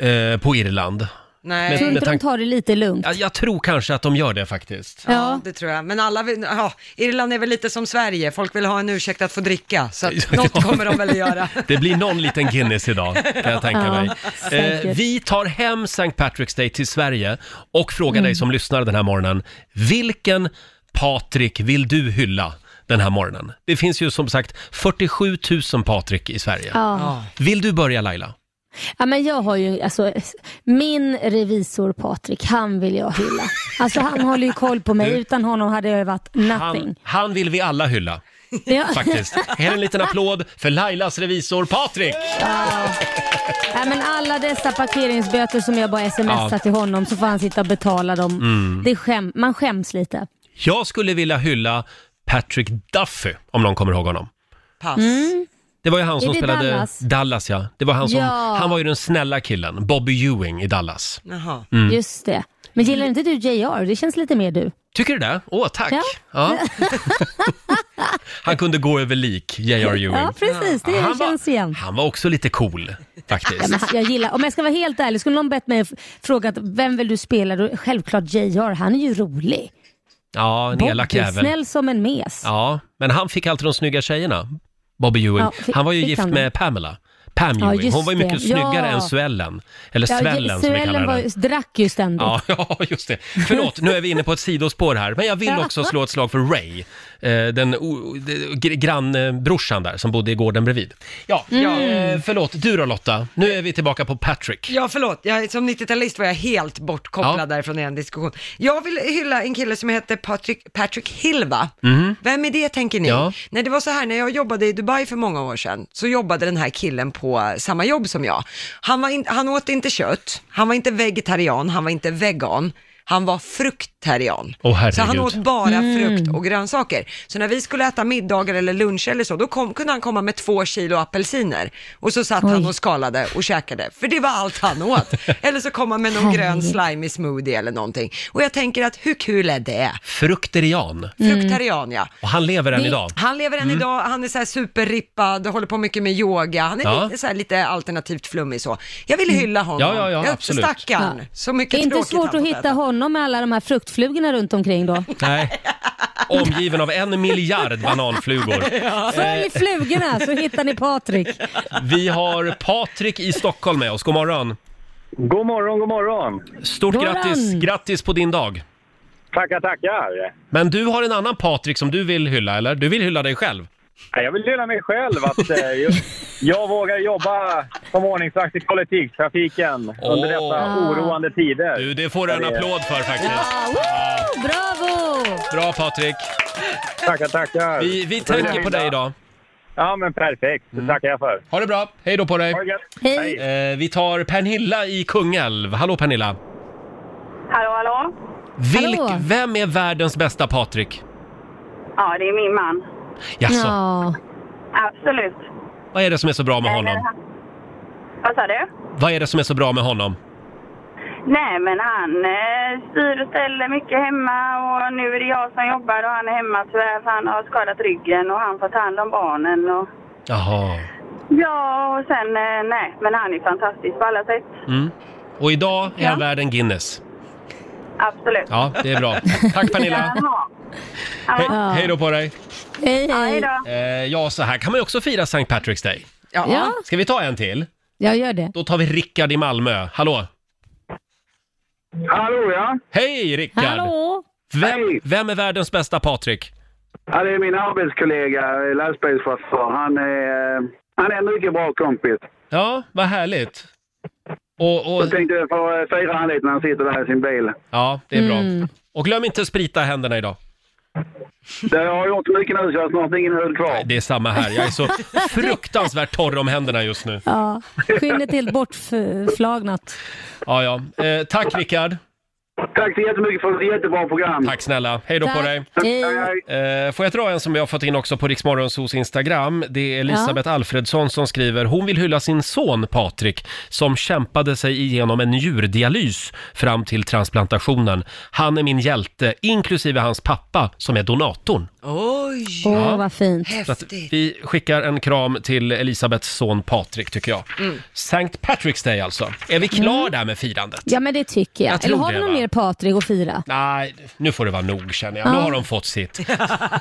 [SPEAKER 1] eh, på Irland.
[SPEAKER 2] Nej.
[SPEAKER 3] Tror
[SPEAKER 1] Men-
[SPEAKER 3] du inte de
[SPEAKER 1] tank-
[SPEAKER 3] tar det lite lugnt?
[SPEAKER 1] Ja, jag tror kanske att de gör det faktiskt.
[SPEAKER 2] Ja, det tror jag. Men alla, vill- ja, Irland är väl lite som Sverige, folk vill ha en ursäkt att få dricka, så att
[SPEAKER 1] [LAUGHS] Ja.
[SPEAKER 2] något kommer de väl
[SPEAKER 1] [LAUGHS]
[SPEAKER 2] att göra.
[SPEAKER 1] Det blir någon liten Guinness idag, kan jag tänka
[SPEAKER 3] Ja,
[SPEAKER 1] mig.
[SPEAKER 3] säkert.
[SPEAKER 1] Eh, vi tar hem St. Patrick's Day till Sverige och frågar
[SPEAKER 3] Mm.
[SPEAKER 1] dig som lyssnar den här morgonen, vilken Patrik vill du hylla den här morgonen? Det finns ju som sagt 47 000 Patrik i Sverige.
[SPEAKER 3] Ja.
[SPEAKER 1] Vill du börja Laila?
[SPEAKER 3] ja, men jag har ju, alltså, min revisor Patrik, han vill jag hylla. Alltså han håller ju koll på mig, utan honom hade jag ju varit
[SPEAKER 1] Han,
[SPEAKER 3] nothing.
[SPEAKER 1] han vill vi alla hylla.
[SPEAKER 3] Ja. [LAUGHS]
[SPEAKER 1] Faktiskt. Här är en liten applåd för Lailas revisor Patrik!
[SPEAKER 3] Nej, men alla dessa parkeringsböter som jag bara smsar
[SPEAKER 1] Ja. Mm.
[SPEAKER 3] till honom så får han sitta och betala dem. Det skäm, man skäms lite.
[SPEAKER 1] Jag skulle vilja hylla Patrick Duffy, om någon kommer ihåg honom.
[SPEAKER 2] Pass.
[SPEAKER 1] Det var ju han som
[SPEAKER 3] det
[SPEAKER 1] spelade Dallas?
[SPEAKER 3] Dallas?
[SPEAKER 1] ja. Det var han som,
[SPEAKER 3] Ja.
[SPEAKER 1] han var ju den snälla killen, Bobby Ewing i Dallas.
[SPEAKER 2] Jaha.
[SPEAKER 1] Mm.
[SPEAKER 3] Just det. Men gillar inte du JR? Det känns lite mer du.
[SPEAKER 1] Tycker du det? Åh, tack! Ja.
[SPEAKER 3] Ja.
[SPEAKER 1] han kunde gå över lik, J.R. Ewing.
[SPEAKER 3] Ja, precis. Det
[SPEAKER 1] han,
[SPEAKER 3] känns
[SPEAKER 1] var,
[SPEAKER 3] igen.
[SPEAKER 1] han var också lite cool,
[SPEAKER 3] Ja,
[SPEAKER 1] faktiskt.
[SPEAKER 3] men jag gillar, om jag ska vara helt ärlig, skulle någon bett mig och f- frågat vem vill du spela? Då, självklart JR, han är ju rolig.
[SPEAKER 1] Ja, en elak
[SPEAKER 3] Bobby,
[SPEAKER 1] jävel.
[SPEAKER 3] snäll som en mes.
[SPEAKER 1] Ja, men han fick alltid de snygga tjejerna, Bobby Ewing.
[SPEAKER 3] Ja, fick-
[SPEAKER 1] han var ju
[SPEAKER 3] fick
[SPEAKER 1] gift
[SPEAKER 3] han det?
[SPEAKER 1] med Pamela. Pam
[SPEAKER 3] Ja,
[SPEAKER 1] Ewing. Hon
[SPEAKER 3] just
[SPEAKER 1] var ju mycket
[SPEAKER 3] det.
[SPEAKER 1] snyggare
[SPEAKER 3] Ja.
[SPEAKER 1] än Suellen. Eller
[SPEAKER 3] Ja,
[SPEAKER 1] Svällen som vi kallar
[SPEAKER 3] Svällen
[SPEAKER 1] henne.
[SPEAKER 3] var, drack ju ständigt.
[SPEAKER 1] Ja, [LAUGHS] ja, just det. Förlåt, nu är vi inne på ett sidospår här. Men jag vill också slå ett slag för Ray, eh, den o- de- gr- grannbrorsan där som bodde i gården bredvid. Ja,
[SPEAKER 3] Mm.
[SPEAKER 1] eh, förlåt. Du då Lotta, nu är vi tillbaka på Patrick.
[SPEAKER 2] Ja, förlåt. Jag, som 90-talist var jag helt bortkopplad
[SPEAKER 1] Ja.
[SPEAKER 2] därifrån i en diskussion. Jag vill hylla en kille som heter Patrick, Patrick Hill, va? Vem är det, tänker ni?
[SPEAKER 1] Mhm. Ja.
[SPEAKER 2] Nej, det var så här, när jag jobbade i Dubai för många år sedan, så jobbade den här killen på eh, samma jobb som jag. Han, var in, han åt inte kött, han var inte vegetarian, han var inte vegan. Han var fruktarian.
[SPEAKER 1] Åh, herregud.
[SPEAKER 2] så han åt bara
[SPEAKER 3] Mm.
[SPEAKER 2] frukt och grönsaker. Så när vi skulle äta middagar eller luncher eller så, då kom, kunde han komma med två kilo apelsiner. Och så satt han och skalade och käkade, för det var allt han
[SPEAKER 3] [LAUGHS]
[SPEAKER 2] åt. eller så kom han med någon grön
[SPEAKER 3] Herregud.
[SPEAKER 2] slimy smoothie eller någonting. Och jag tänker att hur kul är det?
[SPEAKER 1] Frukterian.
[SPEAKER 3] Mm.
[SPEAKER 2] Fruktarian ja.
[SPEAKER 1] Och han lever än
[SPEAKER 3] Det-
[SPEAKER 1] idag.
[SPEAKER 2] Han lever än
[SPEAKER 3] Mm.
[SPEAKER 2] idag, han är så här superrippad, håller på mycket med yoga, han är
[SPEAKER 1] Ja.
[SPEAKER 2] lite, så här lite alternativt flummig så. Jag
[SPEAKER 3] Mm.
[SPEAKER 2] vill hylla honom.
[SPEAKER 1] Ja, ja, ja, absolut.
[SPEAKER 2] Stackarn,
[SPEAKER 3] Ja.
[SPEAKER 2] så
[SPEAKER 3] det
[SPEAKER 2] mycket
[SPEAKER 3] är inte
[SPEAKER 2] tråkigt han
[SPEAKER 3] svårt att
[SPEAKER 2] fått
[SPEAKER 3] hitta
[SPEAKER 2] äta.
[SPEAKER 3] honom med alla de här fruktflugorna runt omkring då.
[SPEAKER 1] Nej. Omgiven av en miljard bananflugor.
[SPEAKER 3] Följ flugorna så hittar ni Patrik.
[SPEAKER 1] [LAUGHS] Vi har Patrik i Stockholm med oss. God morgon.
[SPEAKER 6] God morgon, god morgon.
[SPEAKER 1] Stort
[SPEAKER 3] God
[SPEAKER 1] grattis,
[SPEAKER 3] morgon.
[SPEAKER 1] grattis på din dag.
[SPEAKER 6] Tackar, tackar.
[SPEAKER 1] Men du har en annan Patrik som du vill hylla, eller? Du vill hylla dig själv?
[SPEAKER 6] Ja, Jag vill hylla mig själv att eh, jag,
[SPEAKER 1] [LAUGHS]
[SPEAKER 6] jag vågar jobba som ordningsvakt i kollektivtrafiken under dessa
[SPEAKER 3] Ah.
[SPEAKER 6] oroande tider.
[SPEAKER 1] Du, det får du en
[SPEAKER 6] Ja, det är-
[SPEAKER 1] applåd för faktiskt.
[SPEAKER 3] Ah, woo! Bravo!
[SPEAKER 1] Bra Patrik!
[SPEAKER 6] Tackar, tackar.
[SPEAKER 1] Vi, vi
[SPEAKER 6] Så vill jag hylla-
[SPEAKER 1] tänker på dig Mm. idag.
[SPEAKER 6] Ja, men perfekt. Det tackar jag för.
[SPEAKER 1] Ha det bra, hej då på dig!
[SPEAKER 6] Ha det gött.
[SPEAKER 3] Hej.
[SPEAKER 1] Eh, vi tar Pernilla i Kungälv. Hallå Pernilla!
[SPEAKER 7] Hallå, hallå?
[SPEAKER 1] Vilk,
[SPEAKER 3] Hallå.
[SPEAKER 1] vem är världens bästa Patrik?
[SPEAKER 7] Ja, det är min man.
[SPEAKER 1] Jaså,
[SPEAKER 3] Ja.
[SPEAKER 7] Absolut.
[SPEAKER 1] vad är det som är så bra med honom?
[SPEAKER 7] Vad sa du?
[SPEAKER 1] Vad är det som är så bra med honom?
[SPEAKER 7] Nej, men han eh, styr och ställer mycket hemma och nu är det jag som jobbar och han är hemma tyvärr för han har skadat ryggen och han får ta hand om barnen och
[SPEAKER 1] Jaha.
[SPEAKER 7] ja, och sen eh, nej, men han är fantastisk på alla sätt.
[SPEAKER 1] Mm. Och idag är han
[SPEAKER 7] Ja.
[SPEAKER 1] värd en Guinness.
[SPEAKER 7] Absolut.
[SPEAKER 1] Ja, det är bra. Tack Pernilla!
[SPEAKER 7] Ja.
[SPEAKER 1] Hej,
[SPEAKER 7] Ja,
[SPEAKER 1] hej då på dig!
[SPEAKER 3] Hej,
[SPEAKER 7] hej
[SPEAKER 3] hej.
[SPEAKER 7] då.
[SPEAKER 1] Eh, ja, så här kan man ju också fira St. Patrick's Day.
[SPEAKER 2] Ja.
[SPEAKER 3] Ja,
[SPEAKER 1] Ska vi ta en till?
[SPEAKER 3] jag gör det.
[SPEAKER 1] Då tar vi Rickard i Malmö. Hallå!
[SPEAKER 6] Hallå, ja.
[SPEAKER 1] Hej Rickard!
[SPEAKER 3] Hallå!
[SPEAKER 1] Vem,
[SPEAKER 6] Hej.
[SPEAKER 1] vem är världens bästa Patrik?
[SPEAKER 6] Ja, det är min arbetskollega, eh, lastbilschaufför. Han är, eh, han är en mycket bra kompis.
[SPEAKER 1] Ja, vad härligt. Och, och,
[SPEAKER 6] tänkte få eh, fira han lite när han sitter där i sin bil.
[SPEAKER 1] ja, det är bra.
[SPEAKER 3] Mm.
[SPEAKER 1] Och glöm inte att sprita händerna idag.
[SPEAKER 6] Det har gjort mycket nu så jag har snart ingen hud kvar.
[SPEAKER 1] Det är samma här. Jag är så fruktansvärt torr om händerna just nu.
[SPEAKER 3] Ja, skinnet helt bortflagnat.
[SPEAKER 1] Ja, ja. Eh, tack Rickard.
[SPEAKER 6] Tack så jättemycket för ett jättebra program.
[SPEAKER 1] Tack snälla. Hej då på
[SPEAKER 3] Tack.
[SPEAKER 1] dig.
[SPEAKER 3] Hej.
[SPEAKER 1] Eh, får jag dra en som vi har fått in också på Riksmorgonsos Instagram? Det är Elisabeth Alfredsson som skriver, hon vill hylla sin son Patrik som kämpade sig igenom en njurdialys fram till transplantationen. Han är min hjälte, inklusive hans pappa som är donatorn.
[SPEAKER 2] Oj,
[SPEAKER 3] Åh,
[SPEAKER 1] Ja.
[SPEAKER 3] vad fint.
[SPEAKER 1] Så att
[SPEAKER 2] häftigt.
[SPEAKER 1] vi skickar en kram till Elisabeths son Patrik tycker jag. Saint Patrick's Day alltså. Är vi klara där med firandet?
[SPEAKER 3] Ja, men det tycker jag.
[SPEAKER 1] Jag tror
[SPEAKER 3] Eller har
[SPEAKER 1] det,
[SPEAKER 3] vi någon
[SPEAKER 1] va?
[SPEAKER 3] mer Patrik att fira?
[SPEAKER 1] Nej, nu får det vara nog känner jag. Nu
[SPEAKER 3] Ja.
[SPEAKER 1] har de fått sitt. [LAUGHS]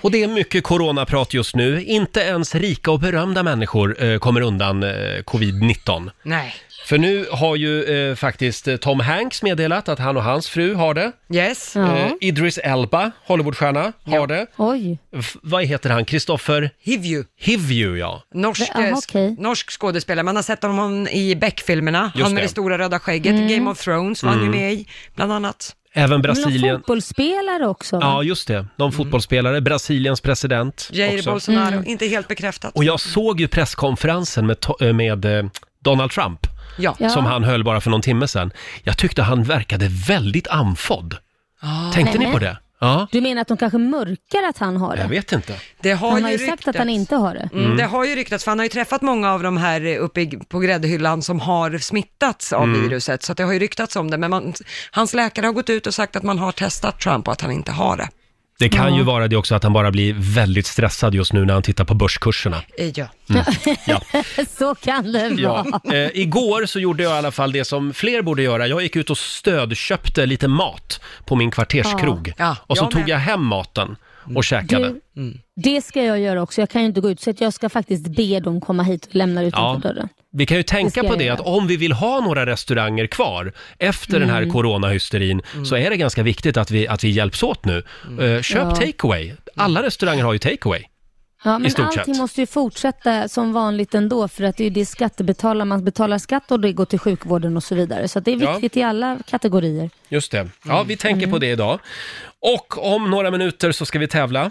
[SPEAKER 1] och det är mycket coronaprat just nu. Inte ens rika och berömda människor eh, kommer undan eh, covid-19.
[SPEAKER 2] Nej.
[SPEAKER 1] För nu har ju eh, faktiskt eh, Tom Hanks meddelat att han och hans fru har det.
[SPEAKER 2] Yes.
[SPEAKER 3] Ja.
[SPEAKER 1] Eh, Idris Elba, Hollywoodstjärna, har det.
[SPEAKER 3] Oj.
[SPEAKER 1] F- vad heter han? Kristoffer
[SPEAKER 2] Hiv you.
[SPEAKER 1] Hivju, ja.
[SPEAKER 2] Norsk,
[SPEAKER 3] Jaha,
[SPEAKER 2] eh, sk-
[SPEAKER 3] okej.
[SPEAKER 2] norsk skådespelare. Man har sett honom i Beck-filmerna.
[SPEAKER 1] Just
[SPEAKER 2] Han med
[SPEAKER 1] det. Mm.
[SPEAKER 2] det stora röda skägget.
[SPEAKER 3] Mm.
[SPEAKER 2] Game of Thrones var han ju med i, bland annat.
[SPEAKER 1] Även
[SPEAKER 3] Men någon
[SPEAKER 1] Brasilien.
[SPEAKER 3] fotbollsspelare också? va?
[SPEAKER 1] Ja, just det.
[SPEAKER 3] Mm.
[SPEAKER 1] Någon fotbollsspelare. Brasiliens president.
[SPEAKER 2] Jair
[SPEAKER 1] också.
[SPEAKER 2] Bolsonaro, inte helt bekräftat.
[SPEAKER 1] Och jag såg ju presskonferensen med, to- eh, med eh, Donald Trump.
[SPEAKER 2] Ja.
[SPEAKER 3] Ja.
[SPEAKER 1] som han höll bara för någon timme sedan. Jag tyckte han verkade väldigt andfådd.
[SPEAKER 2] Ah.
[SPEAKER 1] Tänkte ni
[SPEAKER 3] Nej.
[SPEAKER 1] på det? Ja,
[SPEAKER 3] Du menar att de kanske mörkar att han har
[SPEAKER 1] jag
[SPEAKER 3] det?
[SPEAKER 1] vet inte.
[SPEAKER 2] Det har
[SPEAKER 3] Han
[SPEAKER 2] ju
[SPEAKER 3] har ju sagt att han
[SPEAKER 2] ryktats.
[SPEAKER 3] inte har det.
[SPEAKER 2] Mm. Det har ju ryktats, för han har ju träffat många av de här eh, uppe i- på gräddhyllan som har smittats av
[SPEAKER 1] Mm.
[SPEAKER 2] viruset, så att det har ju ryktats om det. Men man, hans läkare har gått ut och sagt att man har testat Trump och att han inte har det.
[SPEAKER 1] Det kan ju vara det också att han bara blir väldigt stressad just nu när han tittar på börskurserna.
[SPEAKER 2] Eh, Ja.
[SPEAKER 1] [LAUGHS]
[SPEAKER 3] [LAUGHS] Så kan det vara.
[SPEAKER 1] Eh, igår så gjorde jag i alla fall det som fler borde göra. Jag gick ut och stödköpte lite mat på min kvarterskrog.
[SPEAKER 2] Ja,
[SPEAKER 1] och så
[SPEAKER 2] jag
[SPEAKER 1] tog
[SPEAKER 2] med. Mm.
[SPEAKER 1] jag hem maten och käkade.
[SPEAKER 3] Du, det ska jag göra också. Jag kan ju inte gå ut, så att jag ska faktiskt be dem komma hit och lämna det utanför
[SPEAKER 1] Ja.
[SPEAKER 3] dörren.
[SPEAKER 1] Vi kan ju
[SPEAKER 3] ska
[SPEAKER 1] tänka på
[SPEAKER 3] jag
[SPEAKER 1] det
[SPEAKER 3] göra.
[SPEAKER 1] att om vi vill ha några restauranger kvar efter den
[SPEAKER 3] Mm.
[SPEAKER 1] här coronahysterin så är det ganska viktigt att vi, att vi hjälps åt nu. Eh, köp
[SPEAKER 3] Mm. Ja.
[SPEAKER 1] takeaway. Alla restauranger har ju takeaway.
[SPEAKER 3] Ja, men
[SPEAKER 1] stort
[SPEAKER 3] allting
[SPEAKER 1] sett.
[SPEAKER 3] måste ju fortsätta som vanligt ändå, för att det är ju det skattebetalar, man betalar skatt och det går till sjukvården och så vidare. Så att det är
[SPEAKER 1] Ja.
[SPEAKER 3] viktigt i alla kategorier.
[SPEAKER 1] Just det.
[SPEAKER 3] Mm.
[SPEAKER 1] Ja, vi tänker på det idag. Och om några minuter så ska vi tävla.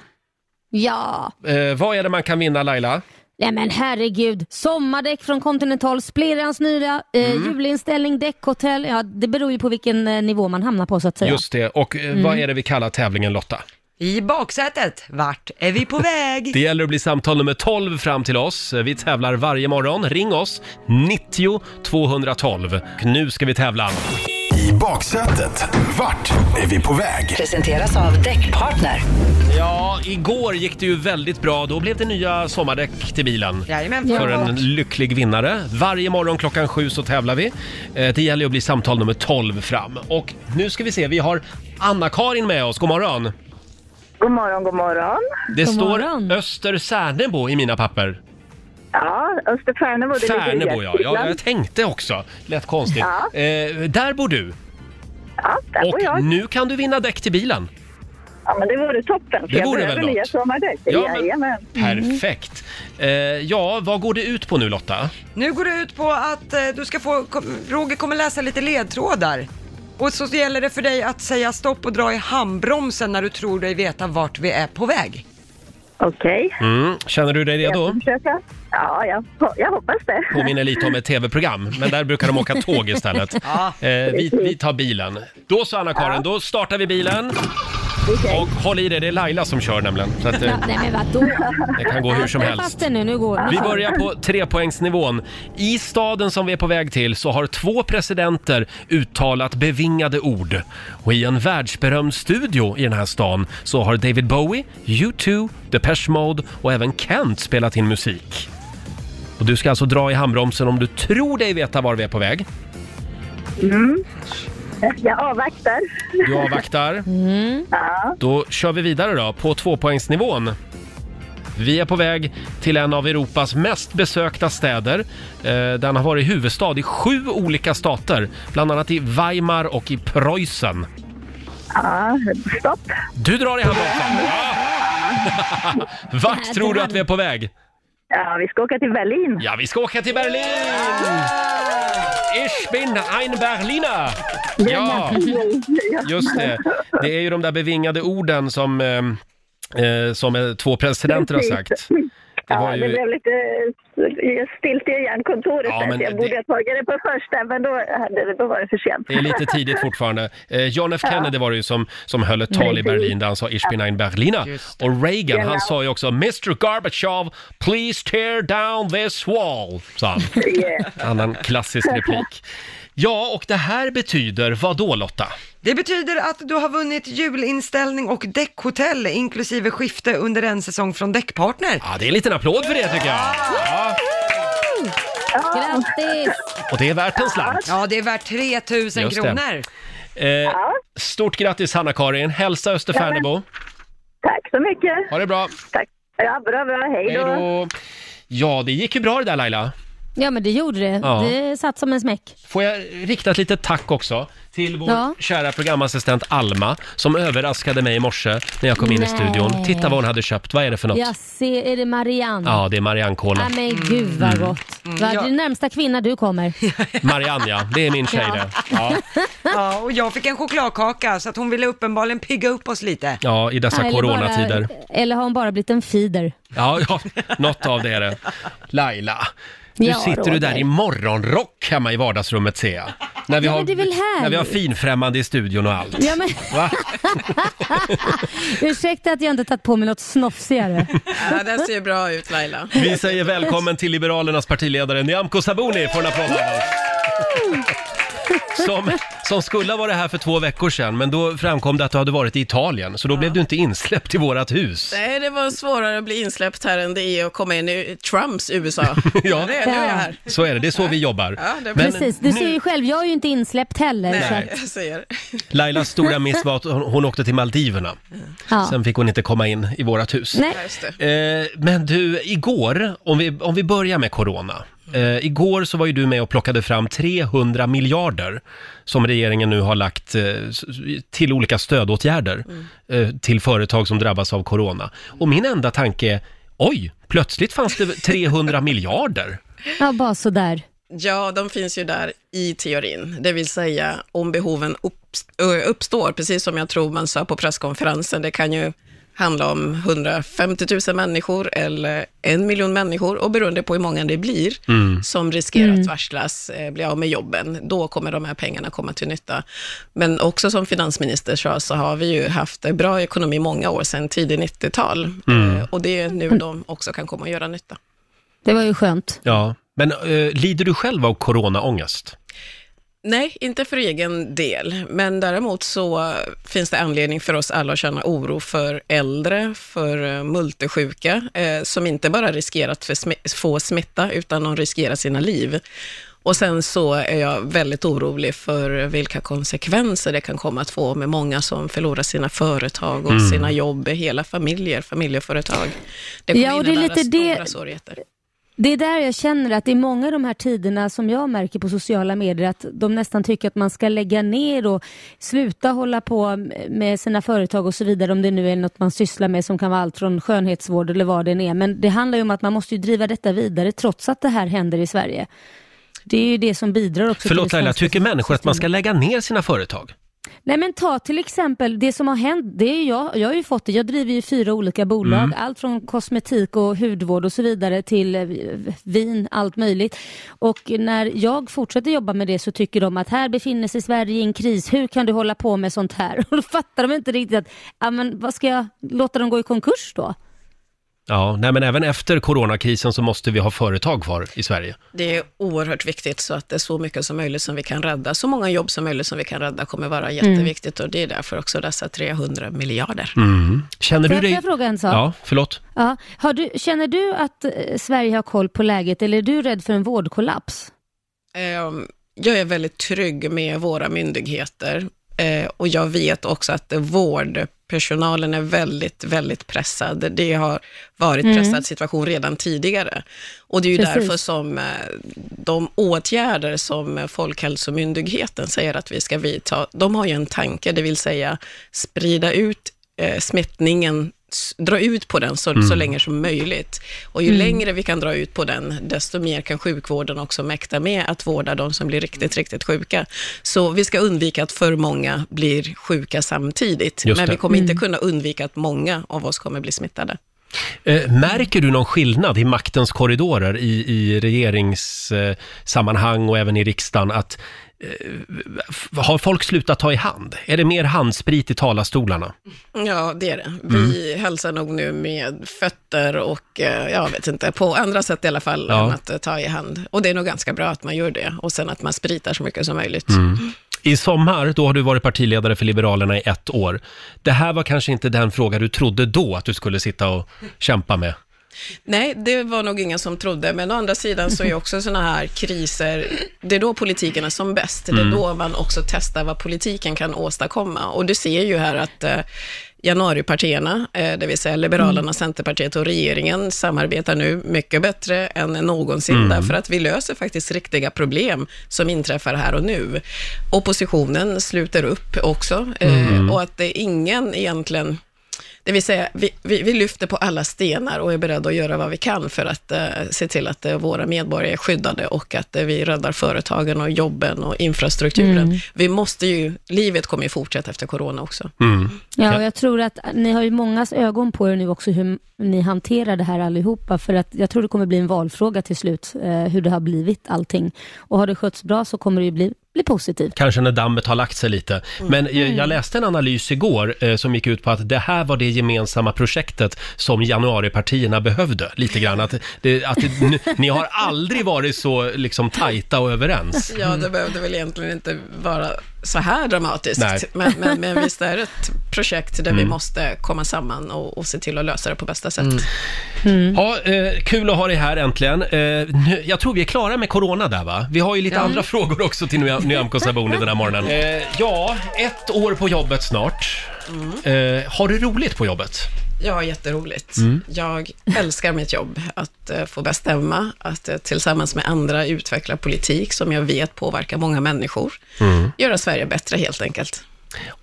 [SPEAKER 3] Ja,
[SPEAKER 1] Eh, vad är det man kan vinna Laila?
[SPEAKER 3] nej men herregud. Sommardäck från Continental, Splirrans nya eh,
[SPEAKER 1] Mm.
[SPEAKER 3] julinställning, däckhotell. Ja, det beror ju på vilken eh, nivå man hamnar på så att säga.
[SPEAKER 1] Just det. Och eh,
[SPEAKER 3] Mm.
[SPEAKER 1] vad är det vi kallar tävlingen Lotta?
[SPEAKER 2] I baksätet, vart är vi på väg?
[SPEAKER 1] Det gäller att bli samtal nummer 12 fram till oss. Vi tävlar varje morgon. Ring oss, 90 212. Och nu ska vi tävla.
[SPEAKER 4] I baksätet, vart är vi på väg?
[SPEAKER 8] Presenteras av Däckpartner.
[SPEAKER 1] Ja, igår gick det ju väldigt bra. Då blev det nya sommardäck till bilen.
[SPEAKER 2] Jajamän,
[SPEAKER 1] För en lycklig vinnare. Varje morgon klockan sju så tävlar vi. Eh, Det gäller ju att bli samtal nummer 12 fram. Och nu ska vi se, vi har Anna-Karin med oss. God morgon!
[SPEAKER 7] God morgon, god morgon.
[SPEAKER 1] Det
[SPEAKER 3] God
[SPEAKER 1] står
[SPEAKER 3] morgon.
[SPEAKER 1] Öster Särnebo i mina papper.
[SPEAKER 7] Ja, Österfärnebo,
[SPEAKER 1] Särnebo ja. ja, jag tänkte också. Lät konstigt. Eh, där bor du.
[SPEAKER 9] Ja, där
[SPEAKER 1] Och
[SPEAKER 9] var jag.
[SPEAKER 1] nu kan du vinna däck till bilen.
[SPEAKER 9] Ja, men det vore toppen.
[SPEAKER 1] Det
[SPEAKER 9] jag
[SPEAKER 1] vore
[SPEAKER 9] behöver
[SPEAKER 1] väl något.
[SPEAKER 9] nya sommardäck.
[SPEAKER 1] Ja, men-
[SPEAKER 9] Jajamän.
[SPEAKER 1] Perfekt. Eh, ja, vad går det ut på nu Lotta?
[SPEAKER 2] Nu går det ut på att eh, du ska få, kom, Roger kommer läsa lite ledtrådar. Och så gäller det för dig att säga stopp och dra i handbromsen när du tror dig veta vart vi är på väg.
[SPEAKER 9] Okej.
[SPEAKER 1] Mm. Känner du dig redo?
[SPEAKER 9] Jag ska försöka. Ja, jag, ho- jag hoppas det.
[SPEAKER 1] Påminner lite om ett tv-program, men där brukar de åka tåg istället.
[SPEAKER 2] Ja.
[SPEAKER 1] Eh, vi, vi tar bilen. Då så Anna-Karin, då startar vi bilen. Och håll i dig, det är Laila som kör nämligen. Så att, eh,
[SPEAKER 3] Ja, nej men vadå?
[SPEAKER 1] det kan gå hur som
[SPEAKER 3] Äta
[SPEAKER 1] helst.
[SPEAKER 3] fast den nu, nu går
[SPEAKER 1] Vi börjar på trepoängsnivån. I staden som vi är på väg till så har två presidenter uttalat bevingade ord. Och i en världsberömd studio i den här stan så har David Bowie, U2, Depeche Mode och även Kent spelat in musik. Och du ska alltså dra i handbromsen om du tror dig veta var vi är på väg.
[SPEAKER 9] [LAUGHS] Jag avvaktar.
[SPEAKER 1] Du avvaktar. Mm. Då kör vi vidare då på tvåpoängsnivån. Vi är på väg till en av Europas mest besökta städer. Eh, Den har varit huvudstad i sju olika stater, bland annat i Weimar och i Preussen.
[SPEAKER 9] Ja, stopp.
[SPEAKER 1] Du drar i handbromsen! Ja. [LAUGHS] Vart tror du att vi är på väg?
[SPEAKER 9] Ja, vi ska åka till Berlin.
[SPEAKER 1] Ja, vi ska åka till Berlin! Ich bin ein Berliner! Ja.
[SPEAKER 9] Ja.
[SPEAKER 1] Just det. Det är ju de där bevingade orden som, eh, eh, som eh, två presidenter har sagt. Det var
[SPEAKER 9] Ja, det
[SPEAKER 1] ju...
[SPEAKER 9] blev lite eh, stilt i hjärnkontoret
[SPEAKER 1] Ja,
[SPEAKER 9] där,
[SPEAKER 1] men
[SPEAKER 9] så jag
[SPEAKER 1] det-
[SPEAKER 9] borde ha tagit det på första, men då, hade det, då var det för sent.
[SPEAKER 1] Det är lite tidigt fortfarande. Eh, John F Kennedy var det ju som, som höll ett tal i Berlin där han sa Ich bin ein Berliner. Och Reagan, han sa ju också Mr Gorbachev, please tear down this wall, sa
[SPEAKER 9] [LAUGHS]
[SPEAKER 1] han.
[SPEAKER 9] Yeah.
[SPEAKER 1] Annan klassisk replik. Ja, och det här betyder vad då Lotta?
[SPEAKER 2] Det betyder att du har vunnit julinställning och däckhotell inklusive skifte under en säsong från Däckpartner.
[SPEAKER 1] Ja, det är en liten applåd för det tycker jag. Ja,
[SPEAKER 3] Grattis!
[SPEAKER 1] och det är värt en slant.
[SPEAKER 2] Ja, det är värt 3000
[SPEAKER 1] Just det.
[SPEAKER 2] kronor.
[SPEAKER 1] Eh, stort grattis Hanna-Karin. Hälsa Österfärnebo.
[SPEAKER 9] Tack så mycket.
[SPEAKER 1] Ha det bra.
[SPEAKER 9] Tack. Ja, bra, bra. Hej
[SPEAKER 1] Hej
[SPEAKER 9] då.
[SPEAKER 1] då. Ja, det gick ju bra det där Laila.
[SPEAKER 3] Ja men det gjorde det.
[SPEAKER 1] Ja.
[SPEAKER 3] Det satt som en smäck.
[SPEAKER 1] Får jag rikta ett litet tack också till vår
[SPEAKER 3] Ja.
[SPEAKER 1] kära programassistent Alma som överraskade mig i morse när jag kom in i
[SPEAKER 3] Nej.
[SPEAKER 1] studion. Titta vad hon hade köpt. Vad är det för något?
[SPEAKER 3] Jag ser, är det Marianne?
[SPEAKER 1] Ja, det är Marianne Kola.
[SPEAKER 3] Ja, men gud vad gott. Va, Det
[SPEAKER 2] ja.
[SPEAKER 3] är närmsta kvinna du kommer.
[SPEAKER 1] Marianne ja, det är min tjej
[SPEAKER 3] Ja.
[SPEAKER 1] det. Ja.
[SPEAKER 2] Ja, och jag fick en chokladkaka så att hon ville uppenbarligen pigga upp oss lite.
[SPEAKER 1] ja, i dessa
[SPEAKER 3] Eller bara-
[SPEAKER 1] Alltså, coronatider.
[SPEAKER 3] Eller har hon bara blivit en feeder?
[SPEAKER 1] Ja, ja, något av det är det. Laila, nu
[SPEAKER 3] Ja,
[SPEAKER 1] sitter du
[SPEAKER 3] Roger.
[SPEAKER 1] där i morgonrock hemma i vardagsrummet ser jag. När vi,
[SPEAKER 3] Ja,
[SPEAKER 1] har,
[SPEAKER 3] men det är väl här
[SPEAKER 1] när vi
[SPEAKER 3] nu.
[SPEAKER 1] har finfrämmande i studion och allt.
[SPEAKER 3] Ja, men...
[SPEAKER 1] Va?
[SPEAKER 3] [LAUGHS] Ursäkta att jag inte tagit på mig
[SPEAKER 1] [LAUGHS]
[SPEAKER 3] något snofsigare.
[SPEAKER 10] Ja, den ser ju bra ut Laila.
[SPEAKER 1] Vi säger välkommen till Liberalernas partiledare Nyamko Sabuni får en applåd av oss. Som, som skulle ha varit här för två veckor sedan, men då framkom det att du hade varit i Italien, så då blev du inte insläppt i vårat hus.
[SPEAKER 10] Nej, det var svårare att bli insläppt här än det är att komma in i Trumps USA.
[SPEAKER 1] Ja,
[SPEAKER 10] Det, nu är jag här.
[SPEAKER 1] så är det. Det är så vi jobbar.
[SPEAKER 10] Ja, det är
[SPEAKER 1] Men
[SPEAKER 3] Precis, du ser
[SPEAKER 1] nu-
[SPEAKER 3] ju själv, jag är ju inte insläppt heller. Så
[SPEAKER 10] Nej,
[SPEAKER 3] att,
[SPEAKER 10] jag ser.
[SPEAKER 1] Lailas stora miss var att hon, hon åkte till Maldiverna.
[SPEAKER 3] ja.
[SPEAKER 1] Sen fick hon inte komma in i vårat hus.
[SPEAKER 3] Nej,
[SPEAKER 10] Ja, just det.
[SPEAKER 1] Eh, men du, igår, om vi, om vi börjar med corona. Eh, igår så var ju du med och plockade fram 300 miljarder som regeringen nu har lagt eh, s- till olika stödåtgärder
[SPEAKER 10] Mm.
[SPEAKER 1] eh, till företag som drabbas av corona. Och min enda tanke är, oj, plötsligt fanns det
[SPEAKER 10] [LAUGHS]
[SPEAKER 1] 300 miljarder.
[SPEAKER 3] ja, bara sådär.
[SPEAKER 10] Ja, de finns ju där i teorin, det vill säga om behoven upps- ö, uppstår, precis som jag tror man sa på presskonferensen. Det kan ju handla om 150 000 människor eller en miljon människor och beroende på hur många det blir som riskerar att varslas, eh, bli av med jobben, då kommer de här pengarna komma till nytta. Men också som finansminister sa så har vi ju haft en bra ekonomi många år sedan tidigt 90-tal Eh, och det är nu de också kan komma och göra nytta.
[SPEAKER 3] Det var ju skönt.
[SPEAKER 1] Ja, men eh, lider du själv av coronaångest?
[SPEAKER 10] Nej, inte för egen del, men däremot så finns det anledning för oss alla att känna oro för äldre, för eh, multisjuka, eh, som inte bara riskerar att få smi- få smitta, utan de riskerar sina liv. Och sen så är jag väldigt orolig för vilka konsekvenser det kan komma att få med många som förlorar sina företag och sina jobb, hela familjer, familjeföretag. Det kommer
[SPEAKER 3] Ja, och det är
[SPEAKER 10] innebära
[SPEAKER 3] lite det-
[SPEAKER 10] stora svårigheter.
[SPEAKER 3] Det är där jag känner att det är många av de här tiderna som jag märker på sociala medier att de nästan tycker att man ska lägga ner och sluta hålla på med sina företag och så vidare om det nu är något man sysslar med som kan vara allt från skönhetsvård eller vad det än är. Men det handlar ju om att man måste ju driva detta vidare trots att det här händer i Sverige. Det är ju det som bidrar också till
[SPEAKER 1] Förlåt
[SPEAKER 3] det
[SPEAKER 1] Laila,
[SPEAKER 3] svenska
[SPEAKER 1] tycker människor att man
[SPEAKER 10] Mm.
[SPEAKER 1] ska lägga ner sina företag?
[SPEAKER 3] Nej men ta till exempel det som har hänt, det är ju jag, jag har ju fått det, jag driver ju fyra olika bolag,
[SPEAKER 1] Mm.
[SPEAKER 3] allt från kosmetik och hudvård och så vidare till eh, vin, allt möjligt. Och när jag fortsätter jobba med det så tycker de att här befinner sig Sverige i en kris, hur kan du hålla på med sånt här? [LAUGHS] Och då fattar de inte riktigt att, ja men vad ska jag, låta dem gå i konkurs då?
[SPEAKER 1] Ja, nej men även efter coronakrisen så måste vi ha företag kvar i Sverige.
[SPEAKER 10] Det är oerhört viktigt så att det är så mycket som möjligt som vi kan rädda. Så många jobb som möjligt som vi kan rädda kommer vara jätteviktigt och det är därför också dessa 300 miljarder.
[SPEAKER 1] Känner
[SPEAKER 3] Får
[SPEAKER 1] du
[SPEAKER 3] jag- får
[SPEAKER 1] dig...
[SPEAKER 3] jag fråga en sak?
[SPEAKER 1] Ja, förlåt.
[SPEAKER 3] Ja. Har du, känner du att eh, Sverige har koll på läget eller är du rädd för en vårdkollaps?
[SPEAKER 10] Ehm, Jag är väldigt trygg med våra myndigheter eh, och jag vet också att vårdpersonalen är väldigt, väldigt pressad. Det har varit
[SPEAKER 11] Mm.
[SPEAKER 10] pressad situation redan tidigare. Och det är ju
[SPEAKER 11] Precis.
[SPEAKER 10] därför som eh, de åtgärder som eh, Folkhälsomyndigheten säger att vi ska vidta, de har ju en tanke, det vill säga sprida ut eh, smittningen, s- dra ut på den så, så
[SPEAKER 12] Mm.
[SPEAKER 10] länge som möjligt. Och ju
[SPEAKER 12] Mm.
[SPEAKER 10] längre vi kan dra ut på den, desto mer kan sjukvården också mäkta med att vårda de som blir riktigt, riktigt sjuka. Så vi ska undvika att för många blir sjuka samtidigt,
[SPEAKER 1] Just
[SPEAKER 10] men
[SPEAKER 1] det.
[SPEAKER 10] vi kommer inte
[SPEAKER 1] Mm.
[SPEAKER 10] kunna undvika att många av oss kommer bli smittade.
[SPEAKER 1] Eh, märker du någon skillnad i maktens korridorer, i, i regeringssammanhang eh, sammanhang och även i riksdagen, att eh, f- har folk slutat ta i hand? Är det mer handsprit i talarstolarna?
[SPEAKER 10] Ja, det är det.
[SPEAKER 1] Mm.
[SPEAKER 10] Vi hälsar nog nu med fötter och, eh, jag vet inte, på andra sätt i alla fall,
[SPEAKER 1] Ja.
[SPEAKER 10] än att eh, ta i hand. Och det är nog ganska bra att man gör det, och sen att man spritar så mycket som möjligt.
[SPEAKER 1] Mm. I sommar, då har du varit partiledare för Liberalerna i ett år. Det här var kanske inte den fråga du trodde då att du skulle sitta och kämpa med.
[SPEAKER 10] Nej, det var nog ingen som trodde, men å andra sidan så är också sådana här kriser, det är då politiken är som bäst. Det är
[SPEAKER 12] Mm.
[SPEAKER 10] då man också testar vad politiken kan åstadkomma. Och du ser ju här att eh, januaripartierna, eh, det vill säga Liberalerna,
[SPEAKER 12] Mm.
[SPEAKER 10] Centerpartiet och regeringen samarbetar nu mycket bättre än någonsin,
[SPEAKER 12] Mm.
[SPEAKER 10] därför att vi löser faktiskt riktiga problem som inträffar här och nu. Oppositionen sluter upp också, eh,
[SPEAKER 12] Mm.
[SPEAKER 10] och att det är ingen egentligen det vill säga, vi, vi, vi lyfter på alla stenar och är beredda att göra vad vi kan för att eh, se till att eh, våra medborgare är skyddade och att eh, vi räddar företagen och jobben och infrastrukturen.
[SPEAKER 3] Mm.
[SPEAKER 10] Vi måste ju, livet kommer ju fortsätta efter corona också.
[SPEAKER 1] Mm.
[SPEAKER 3] Ja, och jag tror att ni har ju mångas ögon på er nu också hur ni hanterar det här allihopa. För att jag tror det kommer bli en valfråga till slut, eh, hur det har blivit allting. Och har det skötts bra så kommer det ju bli, bli positivt.
[SPEAKER 1] Kanske när dammet har lagt sig lite. Men eh,
[SPEAKER 3] Mm.
[SPEAKER 1] jag läste en analys igår eh, som gick ut på att det här var det gemensamma projektet som januaripartierna behövde. Lite grann att, det, att det, n- ni har aldrig varit så liksom tajta och överens.
[SPEAKER 10] Ja, det behövde väl egentligen inte vara så här
[SPEAKER 1] Nej.
[SPEAKER 10] dramatiskt, men, men, men visst är det ett projekt där vi
[SPEAKER 1] Mm.
[SPEAKER 10] måste komma samman och, och se till att lösa det på bästa sätt.
[SPEAKER 3] Mm.
[SPEAKER 1] Ja, eh, kul att ha dig här äntligen. Eh, nu, jag tror vi är klara med corona där va? Vi har ju lite
[SPEAKER 10] Ja.
[SPEAKER 1] andra frågor också till Ny- Nyamko Sabuni den här
[SPEAKER 3] [LAUGHS]
[SPEAKER 1] morgonen. Eh, ja, ett år på jobbet snart.
[SPEAKER 3] Mm.
[SPEAKER 1] Eh, har du roligt på jobbet?
[SPEAKER 10] Ja, jätteroligt.
[SPEAKER 1] Mm.
[SPEAKER 10] Jag älskar mitt jobb, att eh, få bestämma, att eh, tillsammans med andra utveckla politik som jag vet påverkar många människor.
[SPEAKER 1] Mm.
[SPEAKER 10] Göra Sverige bättre helt enkelt.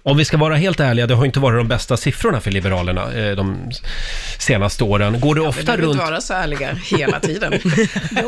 [SPEAKER 1] Om vi ska vara helt ärliga, det har inte varit de bästa siffrorna för Liberalerna eh, de senaste åren. Går du
[SPEAKER 10] Vi
[SPEAKER 1] ofta
[SPEAKER 10] behöver
[SPEAKER 1] runt...
[SPEAKER 10] inte vara så ärliga hela tiden.
[SPEAKER 1] [LAUGHS]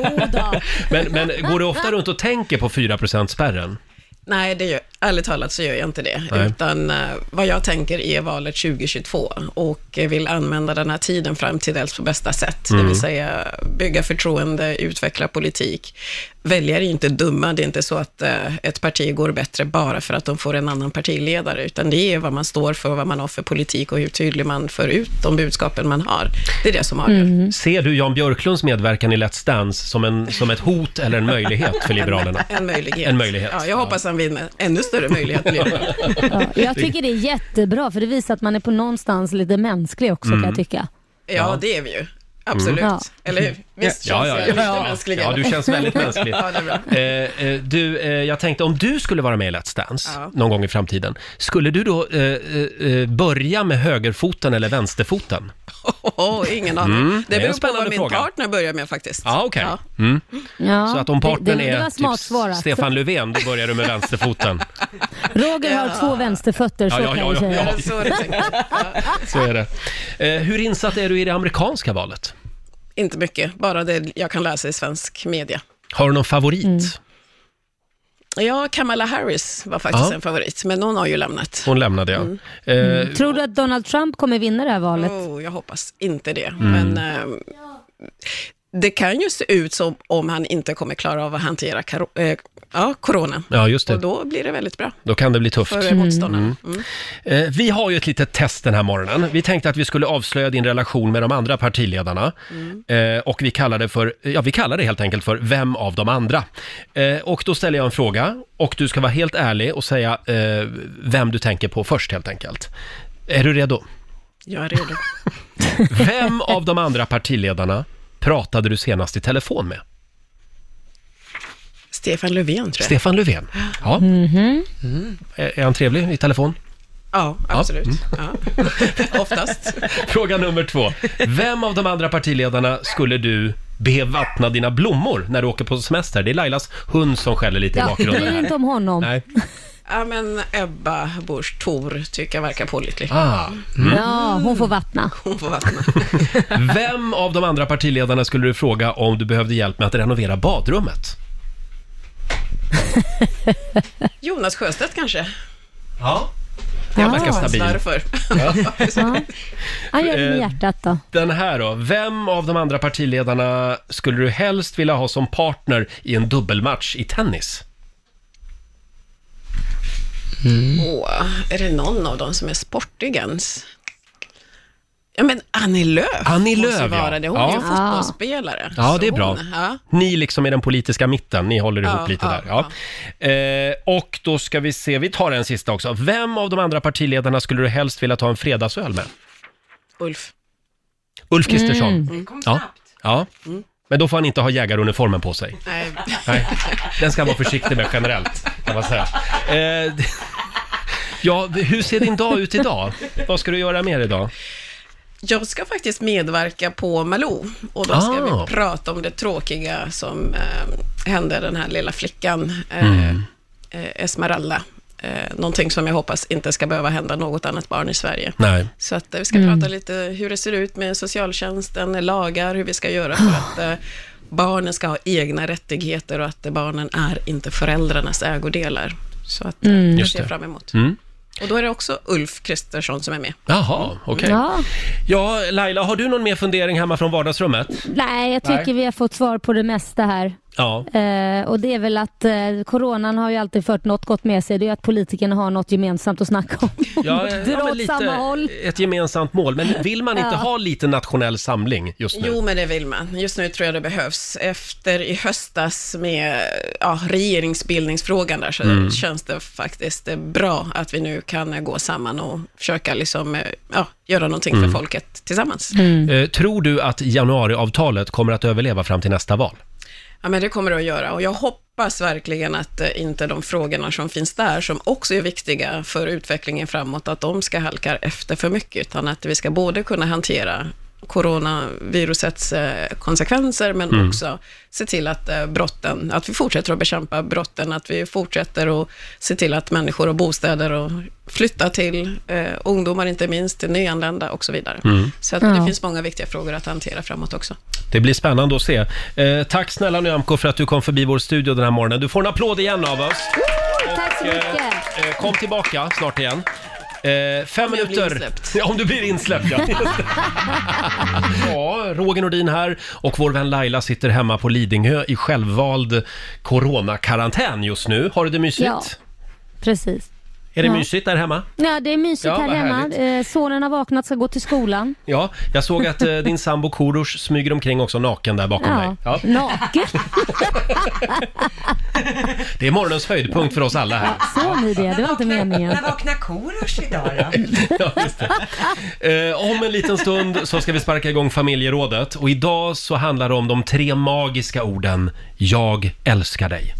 [SPEAKER 1] Men, men går du ofta runt och tänker på 4%-spärren?
[SPEAKER 10] Nej, det gör, ärligt talat så gör jag inte det.
[SPEAKER 1] Nej.
[SPEAKER 10] Utan eh, vad jag tänker är valet 2022 och eh, vill använda den här tiden fram till dess på bästa sätt. Det
[SPEAKER 12] Mm.
[SPEAKER 10] vill säga bygga förtroende, utveckla politik. Väljare är ju inte dumma, det är inte så att eh, ett parti går bättre bara för att de får en annan partiledare, utan det är vad man står för, vad man har för politik och hur tydlig man för ut de budskapen man har. Det är det som avgör.
[SPEAKER 1] Mm. Ser du Jan Björklunds medverkan i Let's Dance som, en, som ett hot eller en möjlighet
[SPEAKER 10] [LAUGHS]
[SPEAKER 1] för Liberalerna?
[SPEAKER 10] En, en möjlighet.
[SPEAKER 1] En möjlighet.
[SPEAKER 10] Ja, jag hoppas han vinner. Ännu större möjlighet blir
[SPEAKER 1] [LAUGHS]
[SPEAKER 10] det.
[SPEAKER 3] Jag tycker det är jättebra, för det visar att man är på någonstans lite mänsklig också
[SPEAKER 1] Mm.
[SPEAKER 3] kan jag tycka.
[SPEAKER 10] Ja, det är vi ju. Absolut.
[SPEAKER 3] Mm. Ja.
[SPEAKER 10] Eller hur? Visst
[SPEAKER 1] Ja,
[SPEAKER 10] känns
[SPEAKER 1] ja,
[SPEAKER 10] jag
[SPEAKER 1] ja.
[SPEAKER 10] lite
[SPEAKER 1] Ja.
[SPEAKER 10] mänsklig?
[SPEAKER 1] Ja, du känns väldigt
[SPEAKER 10] [LAUGHS]
[SPEAKER 1] mänsklig.
[SPEAKER 10] ja, det är bra.
[SPEAKER 1] Eh, eh, du, eh, jag tänkte om du skulle vara med i Let's Dance
[SPEAKER 10] Ja.
[SPEAKER 1] någon gång i framtiden, skulle du då eh, eh, eh, börja med högerfoten eller vänsterfoten?
[SPEAKER 10] ingen aning.
[SPEAKER 1] Mm, det är
[SPEAKER 10] det
[SPEAKER 1] en
[SPEAKER 10] beror på
[SPEAKER 1] spännande
[SPEAKER 10] vad min
[SPEAKER 1] fråga.
[SPEAKER 10] partner börjar med faktiskt.
[SPEAKER 1] Ja, okej. Mm.
[SPEAKER 3] Ja,
[SPEAKER 1] så att om
[SPEAKER 3] det-
[SPEAKER 1] partnern
[SPEAKER 3] det- det var
[SPEAKER 1] är
[SPEAKER 3] smart
[SPEAKER 1] typ
[SPEAKER 3] svarat.
[SPEAKER 1] Stefan Löfven, då börjar du
[SPEAKER 3] [LAUGHS]
[SPEAKER 1] med vänsterfoten.
[SPEAKER 3] Roger har två vänsterfötter, så
[SPEAKER 1] Ja, ja,
[SPEAKER 3] kan
[SPEAKER 1] ja,
[SPEAKER 3] jag säga.
[SPEAKER 1] ja. Så är det Så är det. Eh, hur insatt är du i det amerikanska valet?
[SPEAKER 10] Inte mycket, bara det jag kan läsa i svensk media.
[SPEAKER 1] Har du någon favorit?
[SPEAKER 3] Mm.
[SPEAKER 10] Ja, Kamala Harris var faktiskt
[SPEAKER 1] Ja.
[SPEAKER 10] en favorit, men hon har ju lämnat.
[SPEAKER 1] Hon lämnade, ja.
[SPEAKER 3] Mm.
[SPEAKER 1] Eh,
[SPEAKER 3] Tror du att Donald Trump kommer vinna det här valet?
[SPEAKER 10] Oh, jag hoppas inte det,
[SPEAKER 1] Mm.
[SPEAKER 10] men ehm, det kan ju se ut som om han inte kommer klara av att hantera karo- eh, ja, corona.
[SPEAKER 1] Ja, just det.
[SPEAKER 10] Och då blir det väldigt bra.
[SPEAKER 1] Då kan det bli tufft.
[SPEAKER 10] För eh, motståndarna. Mm.
[SPEAKER 1] Eh, Vi har ju ett litet test den här morgonen. Vi tänkte att vi skulle avslöja din relation med de andra partiledarna.
[SPEAKER 3] Mm.
[SPEAKER 1] Eh, Och vi kallar det för, ja vi kallar det helt enkelt för Vem av de andra? Eh, Och då ställer jag en fråga och du ska vara helt ärlig och säga eh, vem du tänker på först helt enkelt. Är du redo?
[SPEAKER 10] Jag är redo.
[SPEAKER 1] Vem av de andra partiledarna pratade du senast i telefon med?
[SPEAKER 10] Stefan Löfven, tror jag.
[SPEAKER 1] Stefan Löfven. Ja. Mm-hmm. Är är han trevlig i telefon?
[SPEAKER 10] Ja, absolut.
[SPEAKER 1] Mm.
[SPEAKER 10] Ja. Oftast.
[SPEAKER 1] [LAUGHS] Fråga nummer två. Vem av de andra partiledarna skulle du be vattna dina blommor när du åker på semester? Det är Lailas hund som skäller lite i
[SPEAKER 3] Ja,
[SPEAKER 1] bakgrunden.
[SPEAKER 3] bry
[SPEAKER 1] här.
[SPEAKER 3] inte om honom.
[SPEAKER 1] Nej.
[SPEAKER 10] Ja, men Ebba Busch Thor tycker jag verkar pålitlig.
[SPEAKER 1] Ah.
[SPEAKER 3] Mm. Ja, hon får vattna.
[SPEAKER 10] Hon får vattna.
[SPEAKER 1] Vem av de andra partiledarna skulle du fråga om du behövde hjälp med att renovera badrummet?
[SPEAKER 10] Jonas Sjöstedt kanske?
[SPEAKER 1] Ja. Det
[SPEAKER 10] Ah.
[SPEAKER 1] verkar stabil.
[SPEAKER 10] Varför?
[SPEAKER 3] Ja. Han gör det med
[SPEAKER 1] Eh,
[SPEAKER 3] hjärtat då.
[SPEAKER 1] Den här då. Vem av de andra partiledarna skulle du helst vilja ha som partner i en dubbelmatch i tennis? Mm.
[SPEAKER 10] Åh, är det någon av dem som är sportig ens? Ja, men Annie Lööf
[SPEAKER 1] Annie
[SPEAKER 10] måste
[SPEAKER 1] Lööf, ja.
[SPEAKER 10] vara det. Hon är ju
[SPEAKER 1] Ja.
[SPEAKER 10] fotbollsspelare.
[SPEAKER 1] Ja, det är
[SPEAKER 10] Så
[SPEAKER 1] bra.
[SPEAKER 10] hon- Ja.
[SPEAKER 1] Ni liksom är den politiska mitten, ni håller ihop
[SPEAKER 10] Ja,
[SPEAKER 1] lite
[SPEAKER 10] ja,
[SPEAKER 1] där. Ja. Eh, och då ska vi se, vi tar en sista också. Vem av de andra partiledarna skulle du helst vilja ta en fredagsöl med?
[SPEAKER 10] Ulf.
[SPEAKER 1] Ulf Kristersson?
[SPEAKER 10] Mm. Det kom
[SPEAKER 1] Ja. ja. Men då får han inte ha jägaruniformen på sig.
[SPEAKER 10] Nej.
[SPEAKER 1] Nej, den ska han vara försiktig med generellt, kan man säga. Eh, [LAUGHS] ja, hur ser din dag ut idag? Vad ska du göra mer idag?
[SPEAKER 10] Jag ska faktiskt medverka på Malou och då ska
[SPEAKER 1] Ah.
[SPEAKER 10] vi prata om det tråkiga som eh, hände den här lilla flickan, eh,
[SPEAKER 1] Mm.
[SPEAKER 10] eh, Esmeralda. Eh, någonting som jag hoppas inte ska behöva hända något annat barn i Sverige.
[SPEAKER 1] Nej.
[SPEAKER 10] Så att eh, vi ska
[SPEAKER 1] Mm.
[SPEAKER 10] prata lite hur det ser ut med socialtjänsten, lagar, hur vi ska göra för att eh, barnen ska ha egna rättigheter och att eh, barnen är inte föräldrarnas ägodelar. Så att eh,
[SPEAKER 1] Mm.
[SPEAKER 10] det
[SPEAKER 1] Just
[SPEAKER 10] ser jag
[SPEAKER 1] det.
[SPEAKER 10] fram emot.
[SPEAKER 1] Mm.
[SPEAKER 10] Och då är det också Ulf Kristersson som är med.
[SPEAKER 1] Jaha, okej.
[SPEAKER 3] Ja.
[SPEAKER 1] Ja, Laila, har du någon mer fundering hemma från vardagsrummet?
[SPEAKER 3] Nej, jag tycker
[SPEAKER 1] Nej.
[SPEAKER 3] vi har fått svar på det mesta här.
[SPEAKER 1] Ja.
[SPEAKER 3] Eh, och det är väl att eh, coronan har ju alltid fört något gott med sig. Det är ju att politikerna har något gemensamt att snacka om.
[SPEAKER 1] [LAUGHS] Ja,
[SPEAKER 3] [LAUGHS] Dra
[SPEAKER 1] ja, men
[SPEAKER 3] åt samma håll.
[SPEAKER 1] ett gemensamt mål. Men vill man inte
[SPEAKER 3] Ja.
[SPEAKER 1] ha lite nationell samling just nu?
[SPEAKER 10] Jo, men det vill man. Just nu tror jag det behövs. Efter i höstas med ja, regeringsbildningsfrågan där, så
[SPEAKER 1] Mm.
[SPEAKER 10] känns det faktiskt eh, bra att vi nu kan eh, gå samman och försöka liksom, eh, ja, göra någonting
[SPEAKER 1] Mm.
[SPEAKER 10] för folket tillsammans.
[SPEAKER 3] Mm.
[SPEAKER 1] Eh, tror du att januariavtalet kommer att överleva fram till nästa val?
[SPEAKER 10] Ja, men det kommer det att göra och jag hoppas verkligen att eh, inte de frågorna som finns där, som också är viktiga för utvecklingen framåt, att de ska halka efter för mycket, utan att vi ska både kunna hantera coronavirusets eh, konsekvenser, men
[SPEAKER 1] Mm.
[SPEAKER 10] också se till att eh, brotten, att vi fortsätter att bekämpa brotten, att vi fortsätter att se till att människor har bostäder och flytta till eh, ungdomar inte minst, till nyanlända och så vidare.
[SPEAKER 1] Mm.
[SPEAKER 10] Så att
[SPEAKER 3] Ja.
[SPEAKER 10] det finns många viktiga frågor att hantera framåt också.
[SPEAKER 1] Det blir spännande att se. Eh, tack snälla Nyamko för att du kom förbi vår studio den här morgonen. Du får en applåd igen av oss.
[SPEAKER 3] Tack så mycket.
[SPEAKER 1] Eh, kom tillbaka snart igen. Eh, fem
[SPEAKER 10] jag blir
[SPEAKER 1] minuter...
[SPEAKER 10] insläppt.
[SPEAKER 1] [LAUGHS] Ja, om du blir insläppt.
[SPEAKER 10] [LAUGHS]
[SPEAKER 1] Ja. Just det. ja, Roger Nordin här och vår vän Laila sitter hemma på Lidingö i självvald coronakarantän just nu. Har du det mysigt?
[SPEAKER 3] Ja. Precis.
[SPEAKER 1] Är det
[SPEAKER 3] Ja.
[SPEAKER 1] mysigt där hemma?
[SPEAKER 3] Ja, det är mysigt
[SPEAKER 1] Ja,
[SPEAKER 3] här
[SPEAKER 1] vad
[SPEAKER 3] hemma.
[SPEAKER 1] härligt.
[SPEAKER 3] Eh, sonen har vaknat, ska gå till skolan.
[SPEAKER 1] Ja, jag såg att eh, din sambo Korosh smyger omkring också naken där bakom dig.
[SPEAKER 3] Ja.
[SPEAKER 1] Ja.
[SPEAKER 3] Naken.
[SPEAKER 1] Det är morgonens höjdpunkt för oss alla här.
[SPEAKER 3] Så ni det, det var inte meningen.
[SPEAKER 2] När vaknar Korosh idag
[SPEAKER 1] [LAUGHS]
[SPEAKER 2] då?
[SPEAKER 3] [CLEARS THROAT]
[SPEAKER 1] Ja, just det. Eh, om en liten stund så ska vi sparka igång familjerådet och idag så handlar det om de tre magiska orden “Jag älskar dig”.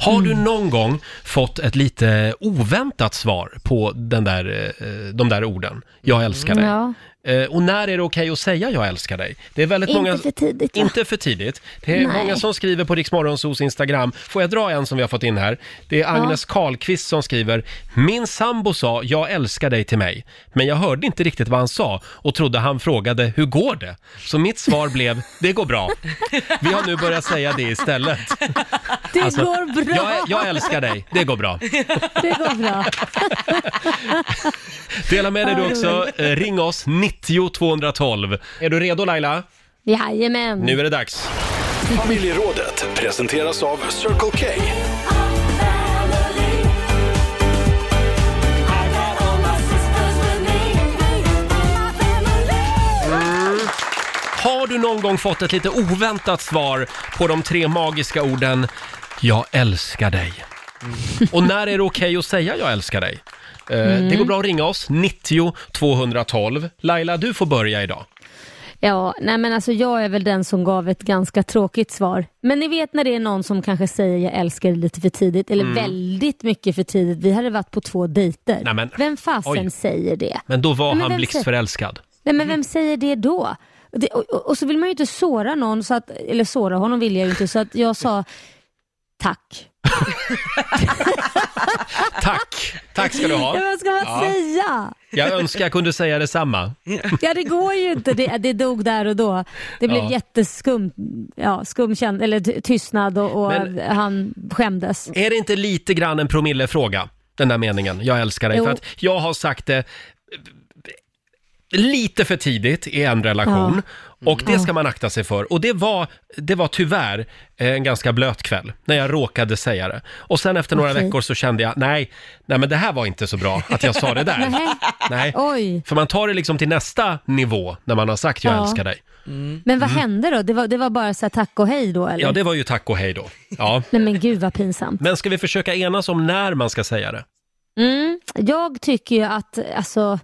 [SPEAKER 1] Har du någon gång fått ett lite oväntat svar på den där, eh, de där orden? “Jag älskar dig”.
[SPEAKER 3] Ja.
[SPEAKER 1] Eh, och när är det okej att säga jag älskar dig? Det är väldigt
[SPEAKER 3] Inte
[SPEAKER 1] många...
[SPEAKER 3] för tidigt, va?
[SPEAKER 1] Inte för tidigt. Det är
[SPEAKER 3] Nej.
[SPEAKER 1] många som skriver på Riksmorgonsos Instagram. Får jag dra en som vi har fått in här? Det är Agnes Karlqvist som skriver. Min sambo sa jag älskar dig till mig. Men jag hörde inte riktigt vad han sa och trodde han frågade hur går det? Så mitt svar blev det går
[SPEAKER 3] [LAUGHS]
[SPEAKER 1] bra. Vi har nu börjat säga det istället.
[SPEAKER 3] Det
[SPEAKER 1] Alltså,
[SPEAKER 3] går bra!
[SPEAKER 1] Jag, jag älskar dig, det går bra.
[SPEAKER 3] Det går bra.
[SPEAKER 1] Dela med dig du
[SPEAKER 3] Ja, det var
[SPEAKER 1] också. Eh, Ring oss, 90 212. Är du redo Laila?
[SPEAKER 3] Jajamän.
[SPEAKER 1] Nu är det dags.
[SPEAKER 4] Familjerådet presenteras av Circle K.
[SPEAKER 1] Har du någon gång fått ett lite oväntat svar på de tre magiska orden “Jag älskar dig”? Och när är det okej att säga “Jag älskar dig”? Eh,
[SPEAKER 3] Mm.
[SPEAKER 1] Det går bra att ringa oss, 90 212. Laila, du får börja idag.
[SPEAKER 3] Ja, nej men alltså jag är väl den som gav ett ganska tråkigt svar. Men ni vet när det är någon som kanske säger jag älskar dig lite för tidigt, eller
[SPEAKER 1] Mm.
[SPEAKER 3] väldigt mycket för tidigt. Vi hade varit på två dejter.
[SPEAKER 1] Nej, men-
[SPEAKER 3] vem fasen
[SPEAKER 1] Oj. Mm.
[SPEAKER 3] säger det?
[SPEAKER 1] Men då var
[SPEAKER 3] Nej, men
[SPEAKER 1] han
[SPEAKER 3] vem
[SPEAKER 1] blixtförälskad.
[SPEAKER 3] Nej men vem säger det då? Det, och, och, och så vill man ju inte såra någon, så att, eller såra honom vill jag ju inte, så att jag sa tack.
[SPEAKER 1] Tack! Tack ska du ha.
[SPEAKER 3] Ja, men vad ska man
[SPEAKER 1] Ja.
[SPEAKER 3] säga?
[SPEAKER 1] Jag önskar jag kunde säga detsamma.
[SPEAKER 3] Ja det går ju inte, det, det dog där och då. Det blev
[SPEAKER 1] Ja.
[SPEAKER 3] jätteskum, ja, skum känd, eller ty- tystnad och, och
[SPEAKER 1] Men-
[SPEAKER 3] han skämdes.
[SPEAKER 1] Är det inte lite grann en promillefråga, den där meningen, jag älskar dig?
[SPEAKER 3] Jo.
[SPEAKER 1] För att jag har sagt det eh, lite för tidigt i en relation och
[SPEAKER 3] Mm.
[SPEAKER 1] det ska man akta sig för. Och det var, det var tyvärr eh, en ganska blöt kväll när jag råkade säga det. Och sen efter några
[SPEAKER 3] Okej.
[SPEAKER 1] veckor så kände jag, nej, nej men det här var inte så bra att jag sa det där.
[SPEAKER 3] [LAUGHS] Nej.
[SPEAKER 1] nej.
[SPEAKER 3] Oj.
[SPEAKER 1] För man tar det liksom till nästa nivå när man har sagt jag
[SPEAKER 3] Ja.
[SPEAKER 1] älskar dig.
[SPEAKER 3] Men
[SPEAKER 2] Mm.
[SPEAKER 3] vad hände då? Det var, det var bara så här, tack och hej då eller?
[SPEAKER 1] Ja, det var ju tack och hej då. Ja.
[SPEAKER 3] Nej men gud vad pinsamt.
[SPEAKER 1] Men ska vi försöka enas om när man ska säga det?
[SPEAKER 3] Mm, jag tycker ju att, alltså,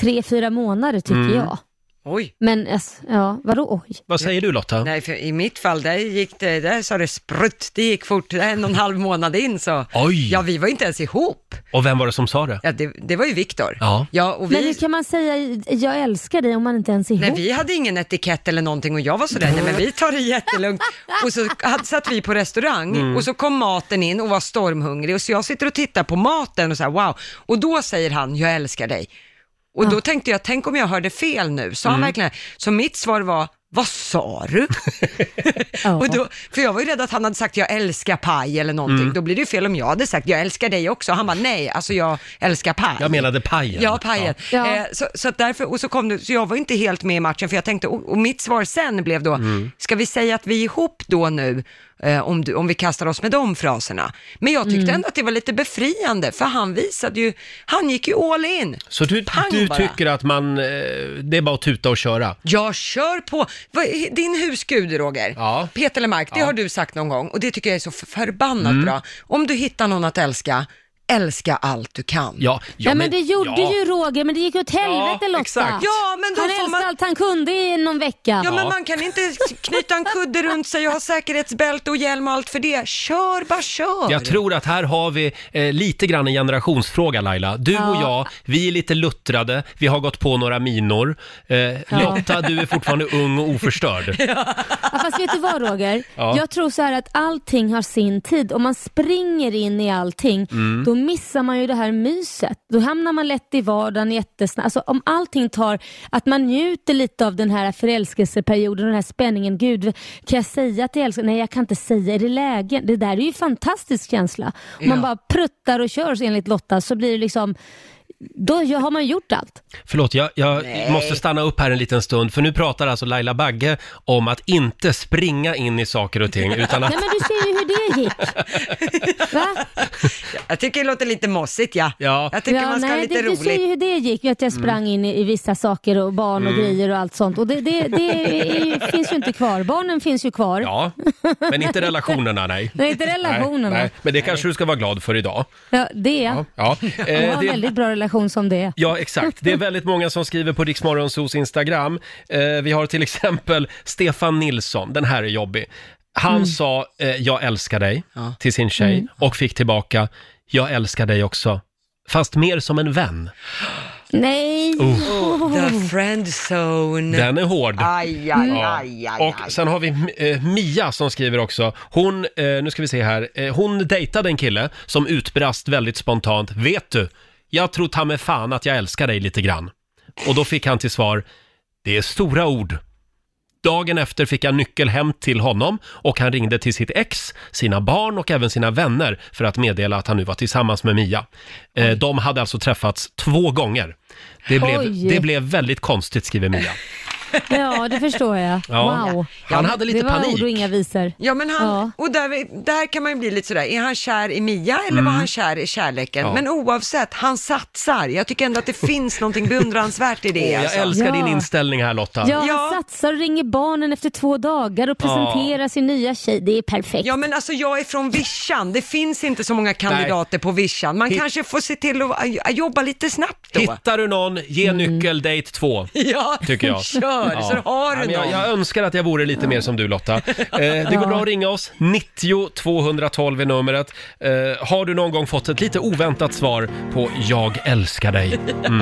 [SPEAKER 3] tre, fyra månader tycker
[SPEAKER 1] Mm.
[SPEAKER 3] jag.
[SPEAKER 2] Oj.
[SPEAKER 3] Men alltså, ja, vadå oj?
[SPEAKER 1] Vad säger du Lotta?
[SPEAKER 2] Nej, för i mitt fall, där gick det, där sa det sprutt, det gick fort, Det är en och en halv månad in så.
[SPEAKER 1] Oj.
[SPEAKER 2] Ja, vi var inte ens ihop.
[SPEAKER 1] Och vem var det som sa det?
[SPEAKER 2] Ja, det, det var ju Viktor.
[SPEAKER 1] Ja.
[SPEAKER 2] Ja, och
[SPEAKER 3] Men hur
[SPEAKER 2] vi,
[SPEAKER 3] kan man säga jag älskar dig om man inte ens är ihop?
[SPEAKER 2] nej, vi hade ingen etikett eller någonting och jag var sådär, nej men vi tar det jättelugnt. Och så hade- satt vi på restaurang
[SPEAKER 1] Mm.
[SPEAKER 2] och så kom maten in och var stormhungrig och så jag sitter och tittar på maten och så här, wow. Och då säger han, jag älskar dig. Och då tänkte jag, tänk om jag hörde fel nu, sa han
[SPEAKER 1] Mm.
[SPEAKER 2] verkligen det? Så mitt svar var, vad sa du? [LAUGHS] Och då, för jag var ju rädd att han hade sagt jag älskar paj eller någonting.
[SPEAKER 1] Mm.
[SPEAKER 2] Då blir det ju fel om jag hade sagt jag älskar dig också. Han bara nej, alltså jag älskar paj.
[SPEAKER 1] Jag menade pajen.
[SPEAKER 2] Ja, pajen.
[SPEAKER 3] Ja.
[SPEAKER 2] Eh, så, så att därför, och så kom du, så jag var inte helt med i matchen för jag tänkte, och, och mitt svar sen blev då,
[SPEAKER 1] Mm.
[SPEAKER 2] ska vi säga att vi är ihop då nu, eh, om, du, om vi kastar oss med de fraserna? Men jag tyckte
[SPEAKER 3] Mm.
[SPEAKER 2] ändå att det var lite befriande, för han visade ju, han gick ju all in.
[SPEAKER 1] Så du,
[SPEAKER 2] Pang
[SPEAKER 1] du
[SPEAKER 2] bara.
[SPEAKER 1] tycker att man, eh, det är bara att tuta och köra?
[SPEAKER 2] Jag kör på! Vad är Din husgud, Roger,
[SPEAKER 1] Ja.
[SPEAKER 2] Peter Lemark, det
[SPEAKER 1] Ja.
[SPEAKER 2] har du sagt någon gång och det tycker jag är så förbannat
[SPEAKER 1] Mm.
[SPEAKER 2] bra. Om du hittar någon att älska, älska allt du kan.
[SPEAKER 1] Ja,
[SPEAKER 3] Ja, men, det gjorde
[SPEAKER 1] ja.
[SPEAKER 3] ju Roger, men det gick åt helvete
[SPEAKER 1] Ja,
[SPEAKER 3] Lotta.
[SPEAKER 1] exakt.
[SPEAKER 2] Ja, men då
[SPEAKER 3] han
[SPEAKER 2] får
[SPEAKER 3] älskade
[SPEAKER 2] man-
[SPEAKER 3] allt han kunde i någon vecka.
[SPEAKER 2] Ja, men man kan inte knyta en kudde runt sig och ha säkerhetsbälte och hjälm och allt för det. Kör, bara kör!
[SPEAKER 1] Jag tror att här har vi eh, lite grann en generationsfråga Laila. Du och
[SPEAKER 3] Ja.
[SPEAKER 1] jag, vi är lite luttrade, vi har gått på några minor. Eh, Lotta, du är
[SPEAKER 3] [LAUGHS]
[SPEAKER 1] fortfarande ung och oförstörd.
[SPEAKER 3] Ja, fast vet du vad Roger?
[SPEAKER 1] Ja.
[SPEAKER 3] Jag tror så här att allting har sin tid. Om man springer in i allting,
[SPEAKER 1] Mm.
[SPEAKER 3] då missar man ju det här myset. Då hamnar man lätt i vardagen jättesnabbt. Alltså om allting tar, att man njuter lite av den här förälskelseperioden, den här spänningen. Gud, kan jag säga att jag älskar Nej, jag kan inte säga. Är det läge? Det där är ju en fantastisk känsla. Om man
[SPEAKER 2] Ja.
[SPEAKER 3] bara pruttar och kör enligt Lotta så blir det liksom, då gör- har man gjort allt.
[SPEAKER 1] Förlåt, jag, jag
[SPEAKER 2] Nej.
[SPEAKER 1] måste stanna upp här en liten stund, för nu pratar alltså Laila Bagge om att inte springa in i saker och ting, utan
[SPEAKER 3] [LAUGHS]
[SPEAKER 1] att...
[SPEAKER 3] Nej men du ser ju hur det
[SPEAKER 1] [LAUGHS]
[SPEAKER 3] gick. Va?
[SPEAKER 2] Jag tycker det låter lite mossigt, ja.
[SPEAKER 1] Ja,
[SPEAKER 2] Jag tycker man ska ha
[SPEAKER 3] nej,
[SPEAKER 2] lite
[SPEAKER 3] det, Du ser
[SPEAKER 2] roligt.
[SPEAKER 3] ju hur det gick, ju att jag sprang in i, i vissa saker och barn
[SPEAKER 1] Mm.
[SPEAKER 3] och grejer och allt sånt. Och det, det, det
[SPEAKER 1] [LAUGHS]
[SPEAKER 3] är, finns ju inte kvar. Barnen finns ju kvar.
[SPEAKER 1] ja, men inte relationerna, nej.
[SPEAKER 3] Det är inte relationerna.
[SPEAKER 1] Nej, nej. Men det kanske du ska vara glad för idag.
[SPEAKER 3] Ja, det är jag.
[SPEAKER 1] Ja, [LAUGHS] ja.
[SPEAKER 3] Jag
[SPEAKER 1] Eh,
[SPEAKER 3] har en
[SPEAKER 1] det-
[SPEAKER 3] väldigt bra relation som det är.
[SPEAKER 1] Ja, exakt. Det är väldigt många som skriver på Riksmorgonsos Instagram. Eh, vi har till exempel Stefan Nilsson, den här är jobbig. Han sa eh, “Jag älskar dig”
[SPEAKER 2] Ja.
[SPEAKER 1] till sin tjej och fick tillbaka “Jag älskar dig också”, fast mer som en vän.
[SPEAKER 3] Nej!
[SPEAKER 1] Oh.
[SPEAKER 2] The friend zone.
[SPEAKER 1] Den är hård.
[SPEAKER 2] Aj, aj,
[SPEAKER 1] Ja.
[SPEAKER 2] aj, aj,
[SPEAKER 1] Och sen har vi eh, Mia som skriver också. Hon, eh, nu ska vi se här. Eh, Hon dejtade en kille som utbrast väldigt spontant. Vet du, jag tror ta mig fan att jag älskar dig lite grann. Och då fick han till svar, det är stora ord. Dagen efter fick jag nyckel hem till honom och han ringde till sitt ex, sina barn och även sina vänner för att meddela att han nu var tillsammans med Mia. Eh, de hade alltså träffats två gånger. Det blev,
[SPEAKER 3] Oj.
[SPEAKER 1] det blev väldigt konstigt, skriver Mia.
[SPEAKER 3] Ja, det förstår jag.
[SPEAKER 1] Ja.
[SPEAKER 3] Wow.
[SPEAKER 1] Han hade lite
[SPEAKER 3] det var
[SPEAKER 1] panik.
[SPEAKER 3] ord och inga visor.
[SPEAKER 2] Ja, men han, och där, där kan man ju bli lite sådär, är han kär i Mia eller
[SPEAKER 1] Mm.
[SPEAKER 2] var han kär i kärleken?
[SPEAKER 1] Ja.
[SPEAKER 2] Men oavsett, han satsar. Jag tycker ändå att det finns någonting beundransvärt i det.
[SPEAKER 1] Åh, jag
[SPEAKER 2] alltså.
[SPEAKER 1] älskar din
[SPEAKER 3] Ja.
[SPEAKER 1] inställning här Lotta.
[SPEAKER 3] Ja, han satsar och ringer barnen efter två dagar och presenterar sin nya tjej. Det är perfekt.
[SPEAKER 2] Ja men alltså jag är från vischan, det finns inte så många kandidater på vischan. Man
[SPEAKER 1] Hitt-
[SPEAKER 2] kanske får se till att aj- jobba lite snabbt då. Mm.
[SPEAKER 1] Hittar du någon, ge nyckel, date två.
[SPEAKER 2] [LAUGHS] Ja,
[SPEAKER 1] Tycker jag.
[SPEAKER 2] kör, så har du
[SPEAKER 1] Nej, men jag,
[SPEAKER 2] någon.
[SPEAKER 1] jag önskar att jag vore lite mer som du Lotta. Eh, det går bra att ringa oss, 90 212 är numret. Eh, har du någon gång fått ett lite oväntat svar på “Jag älskar dig”? Mm.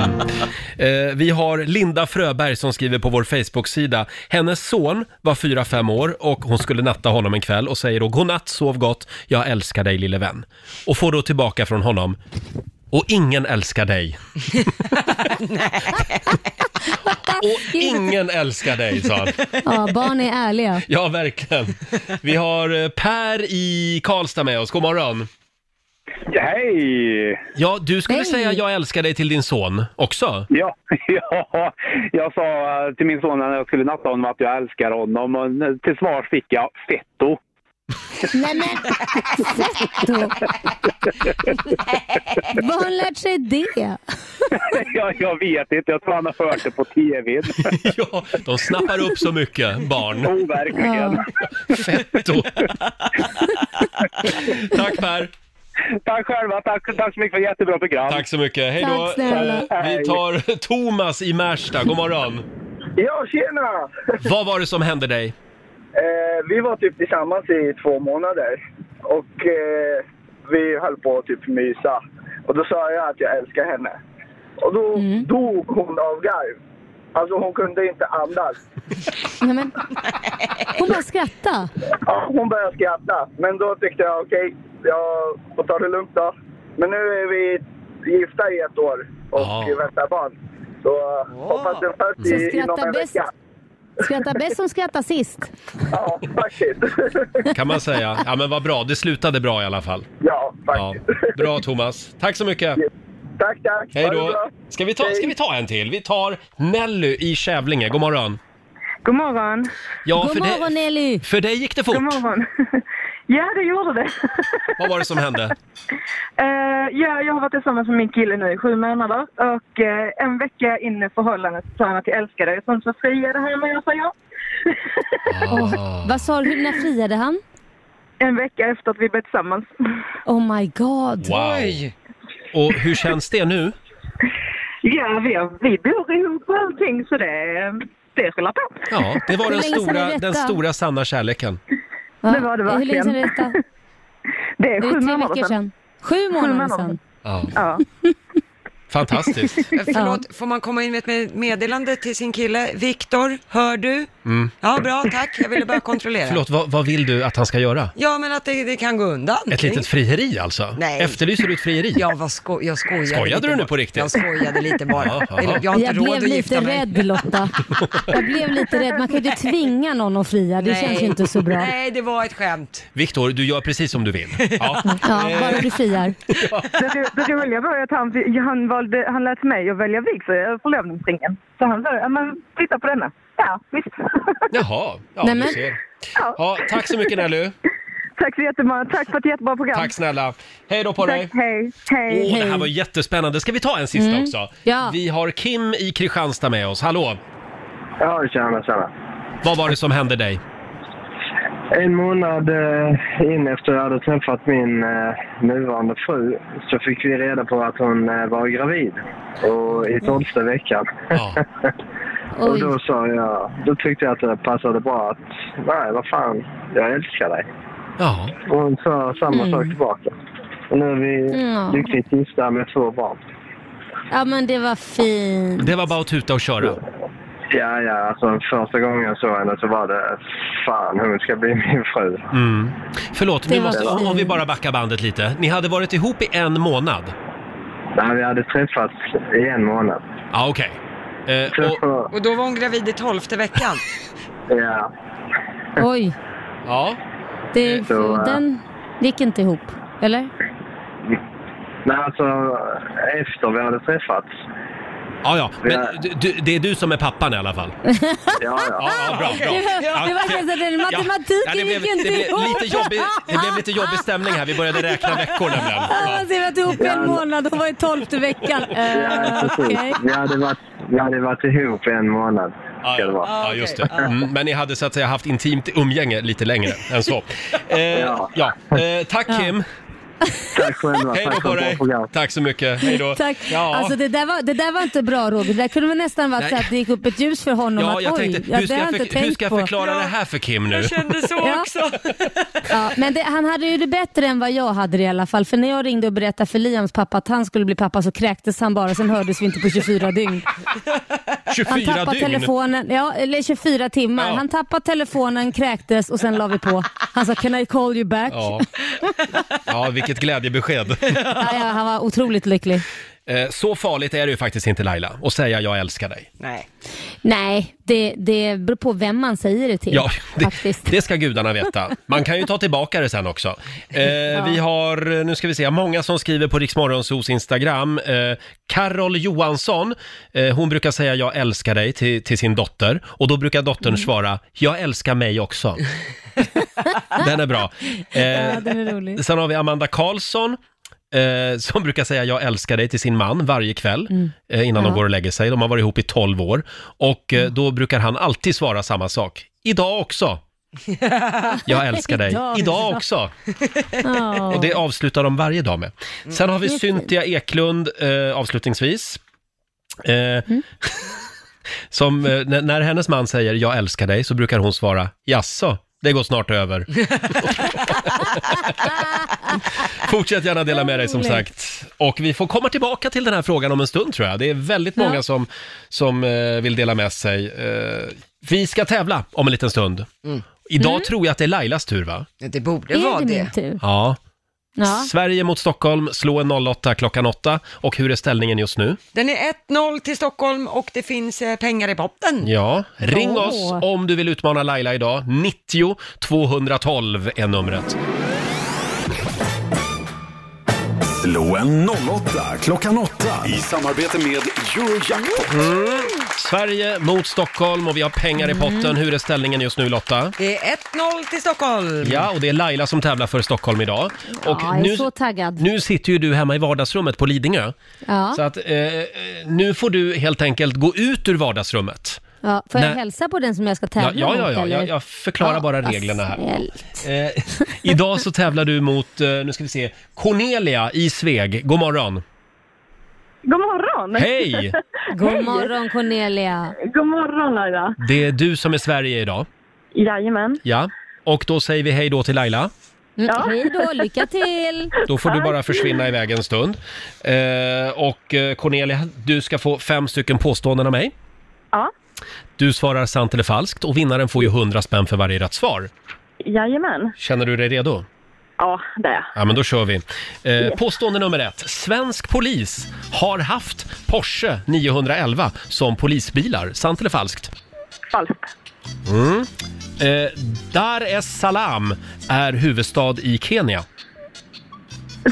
[SPEAKER 1] Eh, vi har Linda Fröberg som skriver på vår Facebook-sida. Hennes son var 4-5 år och hon skulle natta honom en kväll och säger då “Godnatt, sov gott, jag älskar dig lille vän”. Och får då tillbaka från honom “Och ingen älskar dig”. Och ingen älskar dig, sa han.
[SPEAKER 3] Ja, barn är ärliga.
[SPEAKER 1] Ja, verkligen. Vi har eh, Per i Karlstad med oss. God morgon.
[SPEAKER 11] Hej!
[SPEAKER 1] Ja, du skulle
[SPEAKER 11] Hej.
[SPEAKER 1] säga jag älskar dig till din son också.
[SPEAKER 11] Ja, [LAUGHS] ja, jag sa till min son när jag skulle natta honom att jag älskar honom och till svar fick jag fetto. [LAUGHS]
[SPEAKER 3] Nej men, Fetto! Var har han lärt sig det?
[SPEAKER 11] jag, jag vet inte, jag tror han har hört det på [LAUGHS] tv.
[SPEAKER 1] ja, de snappar upp så mycket, barn.
[SPEAKER 11] Jo, verkligen.
[SPEAKER 1] Fetto. tack Per!
[SPEAKER 11] Tack själva, tack, tack så mycket för ett jättebra program.
[SPEAKER 1] Tack så mycket. Hej då!
[SPEAKER 11] Tack snälla.
[SPEAKER 1] Vi tar Thomas i Märsta. God morgon.
[SPEAKER 12] Ja, tjena!
[SPEAKER 1] Vad var det som hände dig?
[SPEAKER 12] Eh, vi var typ tillsammans i två månader och eh, vi höll på att typ mysa. Och då sa jag att jag älskar henne. Och då dog hon av garv. Alltså hon kunde inte andas.
[SPEAKER 3] Nej, men, hon bara skrattade.
[SPEAKER 12] Ja, hon började skratta. Men då tyckte jag okej, jag får ta det lugnt då. Men nu är vi gifta i ett år och
[SPEAKER 1] Ja.
[SPEAKER 12] väntar barn. Så eh, hoppas den föds
[SPEAKER 3] Så
[SPEAKER 12] i- inom
[SPEAKER 3] skratta
[SPEAKER 12] en
[SPEAKER 3] bäst.
[SPEAKER 12] vecka.
[SPEAKER 3] Skratta bäst som skrattar sist.
[SPEAKER 12] Ja, faktiskt. [LAUGHS]
[SPEAKER 1] Kan man säga. Ja men vad bra, det slutade bra i alla fall.
[SPEAKER 12] Ja,
[SPEAKER 1] faktiskt. Bra Thomas. Tack så mycket.
[SPEAKER 12] Tack, tack.
[SPEAKER 1] Hej
[SPEAKER 12] Ha det
[SPEAKER 1] då.
[SPEAKER 12] bra.
[SPEAKER 1] Ska vi, ta, ska vi ta en till? Vi tar Nelly i Kävlinge. God morgon.
[SPEAKER 13] God morgon.
[SPEAKER 1] Ja, för, dig,
[SPEAKER 3] Nelly.
[SPEAKER 1] för dig gick det fort.
[SPEAKER 13] God
[SPEAKER 9] [LAUGHS]
[SPEAKER 13] morgon. ja, det gjorde det.
[SPEAKER 1] [LAUGHS] Vad var det som
[SPEAKER 13] [LAUGHS]
[SPEAKER 1] hände?
[SPEAKER 13] Eh, ja, jag har varit tillsammans med min kille nu i sju månader och eh, en vecka in i förhållandet sa han att jag älskar dig. Sen så friade han mig och sa ja.
[SPEAKER 2] Ah.
[SPEAKER 3] Åh, vad sa du, när friade han?
[SPEAKER 13] En vecka efter att vi blev tillsammans. [LAUGHS]
[SPEAKER 3] Oh my god.
[SPEAKER 1] Och hur känns det nu?
[SPEAKER 13] Ja, vi, har- vi bor ihop och allting så det, det rullar på.
[SPEAKER 1] Ja, det var
[SPEAKER 13] Hur
[SPEAKER 1] den
[SPEAKER 13] länge sedan är
[SPEAKER 1] stora,
[SPEAKER 13] detta?
[SPEAKER 1] den stora sanna kärleken.
[SPEAKER 13] Det var det
[SPEAKER 3] Hur länge
[SPEAKER 13] verkligen.
[SPEAKER 3] sedan är detta?
[SPEAKER 13] Det är sju
[SPEAKER 3] tre
[SPEAKER 13] månader
[SPEAKER 3] veckor sedan.
[SPEAKER 13] sedan.
[SPEAKER 3] Sju månader sedan.
[SPEAKER 1] Ja.
[SPEAKER 13] Ja.
[SPEAKER 1] Fantastiskt.
[SPEAKER 2] Eh, Förlåt, får man komma in med ett meddelande till sin kille? Viktor, hör du?
[SPEAKER 1] Mm.
[SPEAKER 2] Ja, bra, tack. Jag ville bara
[SPEAKER 1] [LAUGHS]
[SPEAKER 2] kontrollera.
[SPEAKER 1] Förlåt, vad, vad vill du att han ska göra?
[SPEAKER 2] Ja, men att det, det kan gå undan.
[SPEAKER 1] Ett litet frieri alltså?
[SPEAKER 2] Nej.
[SPEAKER 1] Efterlyser du ett frieri?
[SPEAKER 2] Ja, vad sko- jag skojade
[SPEAKER 1] Skojade
[SPEAKER 2] lite
[SPEAKER 1] du nu
[SPEAKER 2] bara.
[SPEAKER 1] på riktigt?
[SPEAKER 2] Jag skojade lite bara.
[SPEAKER 1] Ja, ja.
[SPEAKER 2] Jag har inte
[SPEAKER 3] Jag
[SPEAKER 2] råd
[SPEAKER 3] blev
[SPEAKER 2] att gifta
[SPEAKER 3] lite
[SPEAKER 2] mig.
[SPEAKER 3] rädd Lotta. Jag blev lite rädd. Man kan
[SPEAKER 2] [LAUGHS]
[SPEAKER 3] ju inte tvinga någon att fria. Det
[SPEAKER 2] Nej.
[SPEAKER 3] känns ju inte så bra.
[SPEAKER 2] Nej, det var ett skämt.
[SPEAKER 1] Viktor, du gör precis som du vill. Ja.
[SPEAKER 3] Ja, bara du friar.
[SPEAKER 13] Det, ro- det roliga var ju att han, han, valde, han lät mig att välja vigsel, förlovningsringen. Så han sa, ja men titta på denna. Ja, visst. [LAUGHS]
[SPEAKER 1] Jaha, ja
[SPEAKER 13] Nämen.
[SPEAKER 1] du ser. Ja, tack så mycket Nelly.
[SPEAKER 13] Tack så jättemycket. Tack för ett jättebra program.
[SPEAKER 1] Tack snälla. Hej då på dig.
[SPEAKER 13] Tack, hej. Hej.
[SPEAKER 1] Åh, det här var jättespännande. Ska vi ta en sista
[SPEAKER 13] Mm.
[SPEAKER 1] också?
[SPEAKER 13] Ja.
[SPEAKER 1] Vi har Kim i Kristianstad med oss. Hallå!
[SPEAKER 14] Ja, tjena, tjena.
[SPEAKER 1] Vad var det som hände dig?
[SPEAKER 14] En månad eh, in efter jag hade träffat min eh, nuvarande fru så fick vi reda på att hon eh, var gravid och i tolfte veckan. [LAUGHS] och då sa jag, då tyckte jag att det passade bra att, nej vad fan, jag älskar dig.
[SPEAKER 1] Ja.
[SPEAKER 14] Och hon sa samma
[SPEAKER 1] Mm.
[SPEAKER 14] sak tillbaka. Och nu är vi
[SPEAKER 3] Ja.
[SPEAKER 14] lyckligt gifta med två barn.
[SPEAKER 3] Ja men det var fint.
[SPEAKER 1] Det var bara att tuta och köra.
[SPEAKER 14] Ja, ja, alltså första gången jag såg henne så var det fan hon ska bli [LAUGHS] min fru.
[SPEAKER 1] Mm. Förlåt,
[SPEAKER 14] Det
[SPEAKER 1] nu
[SPEAKER 14] var
[SPEAKER 1] måste,
[SPEAKER 14] fint.
[SPEAKER 1] om vi bara backar bandet lite. Ni hade varit ihop i en månad?
[SPEAKER 14] Nej, vi hade träffats i en månad.
[SPEAKER 1] Ja, okej. Eh,
[SPEAKER 14] och...
[SPEAKER 2] Och då var hon gravid i tolfte veckan.
[SPEAKER 14] Ja.
[SPEAKER 3] Oj.
[SPEAKER 1] Ja.
[SPEAKER 3] Det,
[SPEAKER 14] Så, eh,
[SPEAKER 3] den gick inte ihop, eller?
[SPEAKER 14] Nej, alltså efter vi hade träffats.
[SPEAKER 1] Ja, ja. Men du- du, det är du som är pappan i alla fall?
[SPEAKER 14] Ja,
[SPEAKER 1] [LAUGHS]
[SPEAKER 14] ja.
[SPEAKER 1] Ja,
[SPEAKER 3] [LAUGHS]
[SPEAKER 1] bra, bra. Ja,
[SPEAKER 3] Det var faktiskt att den matematiken
[SPEAKER 1] Ja, det, blev,
[SPEAKER 3] gick inte
[SPEAKER 1] det, blev
[SPEAKER 3] ihop.
[SPEAKER 1] lite jobbig, det blev lite jobbig stämning här, vi började räkna veckor nämligen.
[SPEAKER 3] Ja,
[SPEAKER 1] Ja.
[SPEAKER 3] man ser att du är ihop i en
[SPEAKER 14] Ja.
[SPEAKER 3] månad och var i tolfte veckan. Eh,
[SPEAKER 14] Ja, precis.
[SPEAKER 3] okej.
[SPEAKER 14] Vi, hade varit, vi hade varit ihop i en månad.
[SPEAKER 1] Ja,
[SPEAKER 14] Ska det vara.
[SPEAKER 1] Ja, just det. Mm, men ni hade så att säga haft intimt umgänge lite längre än
[SPEAKER 3] [LAUGHS]
[SPEAKER 1] så. Eh, ja. Eh, tack Kim!
[SPEAKER 14] Tack själva,
[SPEAKER 1] Hej då
[SPEAKER 14] tack för
[SPEAKER 1] på
[SPEAKER 14] ett bra
[SPEAKER 1] dig!
[SPEAKER 14] program.
[SPEAKER 1] Tack så mycket, hej då!
[SPEAKER 3] [LAUGHS] Tack.
[SPEAKER 1] Ja.
[SPEAKER 3] Alltså det där, var, det där var inte bra Roger. Det där kunde väl nästan varit
[SPEAKER 1] Nej.
[SPEAKER 3] så att det gick upp ett ljus för honom.
[SPEAKER 1] Ja,
[SPEAKER 3] att,
[SPEAKER 1] jag
[SPEAKER 3] oj,
[SPEAKER 1] tänkte,
[SPEAKER 3] ja,
[SPEAKER 1] hur ska
[SPEAKER 3] det har
[SPEAKER 1] jag,
[SPEAKER 3] jag
[SPEAKER 1] för,
[SPEAKER 3] inte tänkt
[SPEAKER 1] hur ska jag
[SPEAKER 3] på.
[SPEAKER 1] förklara det här för Kim nu? [LAUGHS]
[SPEAKER 3] Ja.
[SPEAKER 2] också.
[SPEAKER 3] [LAUGHS] Ja, men det, han hade ju det bättre än vad jag hade det i alla fall. För när jag ringde och berättade för Liams pappa att han skulle bli pappa så kräktes han bara, sen hördes vi inte på 24 dygn. han
[SPEAKER 1] 24
[SPEAKER 3] tappade
[SPEAKER 1] dygn?
[SPEAKER 3] telefonen, ja, eller 24 timmar.
[SPEAKER 1] Ja.
[SPEAKER 3] Han tappade telefonen, kräktes och sen la vi på. Han sa “Can I call you back?” ja.
[SPEAKER 1] Ja. ja, vilket
[SPEAKER 3] [LAUGHS]
[SPEAKER 1] glädjebesked.
[SPEAKER 3] Ja, Han var otroligt lycklig.
[SPEAKER 1] Eh, Så farligt är det ju faktiskt inte Laila, att säga jag älskar dig.
[SPEAKER 2] Nej.
[SPEAKER 3] Nej, det, det beror på vem man säger det till.
[SPEAKER 1] Ja, det,
[SPEAKER 3] Faktiskt.
[SPEAKER 1] det ska gudarna veta. Man kan ju ta tillbaka det sen också. Eh, Vi har, eh, nu ska vi se, många som skriver på Riksmorgonsos Instagram. Eh, Carol Johansson, eh, hon brukar säga jag älskar dig till, till sin dotter. Och då brukar dottern
[SPEAKER 3] Mm.
[SPEAKER 1] svara, jag älskar mig
[SPEAKER 3] [LAUGHS]
[SPEAKER 1] också. den är bra. Eh,
[SPEAKER 3] Ja, den
[SPEAKER 1] [LAUGHS]
[SPEAKER 3] är rolig.
[SPEAKER 1] Sen har vi Amanda Karlsson. Eh, som brukar säga jag älskar dig till sin man varje kväll
[SPEAKER 3] Mm.
[SPEAKER 1] eh, innan de
[SPEAKER 3] Ja. Mm.
[SPEAKER 1] går och lägger sig. De har varit ihop i 12 år och eh, då brukar han alltid svara samma sak. Idag
[SPEAKER 3] [LAUGHS]
[SPEAKER 1] också. Jag älskar dig. Idag också.
[SPEAKER 3] Ja. Mm.
[SPEAKER 1] Och det avslutar de varje dag med. Sen har vi
[SPEAKER 3] Det är fint.
[SPEAKER 1] Cynthia Eklund eh, avslutningsvis. Eh,
[SPEAKER 3] Mm.
[SPEAKER 1] [LAUGHS] Som eh, när, när hennes man säger jag älskar dig så brukar hon svara jaså, det går snart
[SPEAKER 3] [LAUGHS]
[SPEAKER 1] över. Fortsätt gärna dela med dig som
[SPEAKER 5] Roligt.
[SPEAKER 1] sagt. Och vi får komma tillbaka till den här frågan om en stund tror jag. Det är väldigt
[SPEAKER 5] Ja.
[SPEAKER 1] många som, som eh, vill dela med sig. Eh, vi ska tävla om en liten stund.
[SPEAKER 3] Mm.
[SPEAKER 1] Idag tror jag att det är Lailas tur va?
[SPEAKER 2] Det borde
[SPEAKER 3] Är
[SPEAKER 2] vara
[SPEAKER 3] det
[SPEAKER 2] det.
[SPEAKER 3] min tur?
[SPEAKER 1] Ja.
[SPEAKER 3] Ja.
[SPEAKER 1] Sverige mot Stockholm, slå en 08 klockan 8. Och hur är ställningen just nu?
[SPEAKER 2] Den är 1-0 till Stockholm och det finns eh, pengar i potten.
[SPEAKER 1] Ja, ring
[SPEAKER 2] Åh.
[SPEAKER 1] oss om du vill utmana Laila idag. 90 212 är numret.
[SPEAKER 4] Slå en 08 klockan 8 i samarbete med Eurojackpot.
[SPEAKER 1] Mm. Sverige mot Stockholm och vi har pengar
[SPEAKER 3] Mm.
[SPEAKER 1] i potten. Hur är ställningen just nu Lotta?
[SPEAKER 2] Det är 1-0 till Stockholm.
[SPEAKER 1] Ja, och det är Laila som tävlar för Stockholm idag. Och
[SPEAKER 3] Ja, jag är
[SPEAKER 1] nu,
[SPEAKER 3] så taggad.
[SPEAKER 1] nu sitter ju du hemma i vardagsrummet på Lidingö.
[SPEAKER 3] Ja.
[SPEAKER 1] Så att eh, nu får du helt enkelt gå ut ur vardagsrummet.
[SPEAKER 3] Ja, får jag
[SPEAKER 1] Nej.
[SPEAKER 3] hälsa på den som jag ska
[SPEAKER 1] Ja,
[SPEAKER 3] tävla
[SPEAKER 1] ja,
[SPEAKER 3] mot,
[SPEAKER 1] ja, ja.
[SPEAKER 3] eller?
[SPEAKER 1] Jag, jag förklarar
[SPEAKER 3] Ja,
[SPEAKER 1] bara
[SPEAKER 3] vad
[SPEAKER 1] reglerna här.
[SPEAKER 3] snällt.
[SPEAKER 1] Eh, idag så tävlar du mot, eh, nu ska vi se, Cornelia i Sveg. God morgon!
[SPEAKER 9] God morgon!
[SPEAKER 1] Hej!
[SPEAKER 3] God morgon Cornelia.
[SPEAKER 9] God morgon Laila.
[SPEAKER 1] Det är du som är Sverige idag.
[SPEAKER 9] Jajamän.
[SPEAKER 1] Ja. Och då säger vi hej då till Laila.
[SPEAKER 3] Mm, Hej då, lycka till!
[SPEAKER 1] Då får du bara försvinna iväg en stund. Eh, och eh, Cornelia, du ska få fem stycken påståenden av mig.
[SPEAKER 9] Ja.
[SPEAKER 1] Du svarar sant eller falskt och vinnaren får ju 100 spänn för varje rätt svar.
[SPEAKER 9] Jajamän.
[SPEAKER 1] Känner du dig redo?
[SPEAKER 9] Ja, det är jag.
[SPEAKER 1] Ja, men då kör vi. Eh, påstående nummer ett. Svensk polis har haft Porsche 911 som polisbilar. Sant eller falskt?
[SPEAKER 9] Falskt.
[SPEAKER 1] Mm. Eh, Dar es Salaam är huvudstad i Kenya.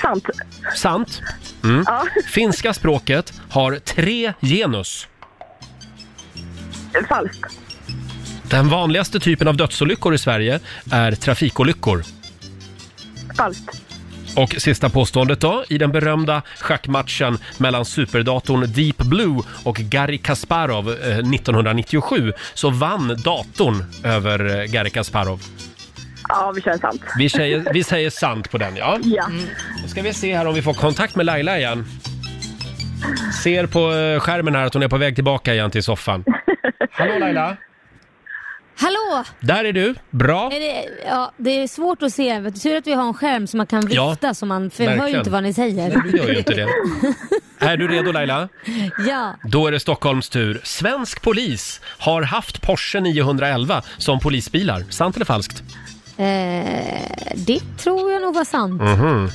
[SPEAKER 9] Sant.
[SPEAKER 1] Sant. Mm. Finska språket har tre genus.
[SPEAKER 9] Falskt.
[SPEAKER 1] Den vanligaste typen av dödsolyckor i Sverige är trafikolyckor.
[SPEAKER 9] Falskt.
[SPEAKER 1] Och sista påståendet då. I den berömda schackmatchen mellan superdatorn Deep Blue och Garry Kasparov eh, 1997 så vann datorn över eh, Garry Kasparov.
[SPEAKER 9] Ja, vi kör sant. Mm.
[SPEAKER 1] Vi säger, vi säger sant på den, ja.
[SPEAKER 9] Ja.
[SPEAKER 1] Då ska vi se här om vi får kontakt med Laila igen. Ser på eh, skärmen här att hon är på väg tillbaka igen till soffan. Hallå Laila!
[SPEAKER 3] Hallå!
[SPEAKER 1] Där är du, bra.
[SPEAKER 3] Är det, ja, det är svårt att se. Vet du, Tur att vi har en skärm som man kan
[SPEAKER 1] Ja,
[SPEAKER 3] vifta så man för man hör ju
[SPEAKER 1] verkligen.
[SPEAKER 3] inte vad ni säger.
[SPEAKER 1] Du gör ju inte det. Är du redo Laila?
[SPEAKER 3] Ja,
[SPEAKER 1] Då är det Stockholms tur. Svensk polis har haft Porsche 911 som polisbilar. Sant eller falskt?
[SPEAKER 3] eh, det tror jag nog var sant.
[SPEAKER 1] Mhm.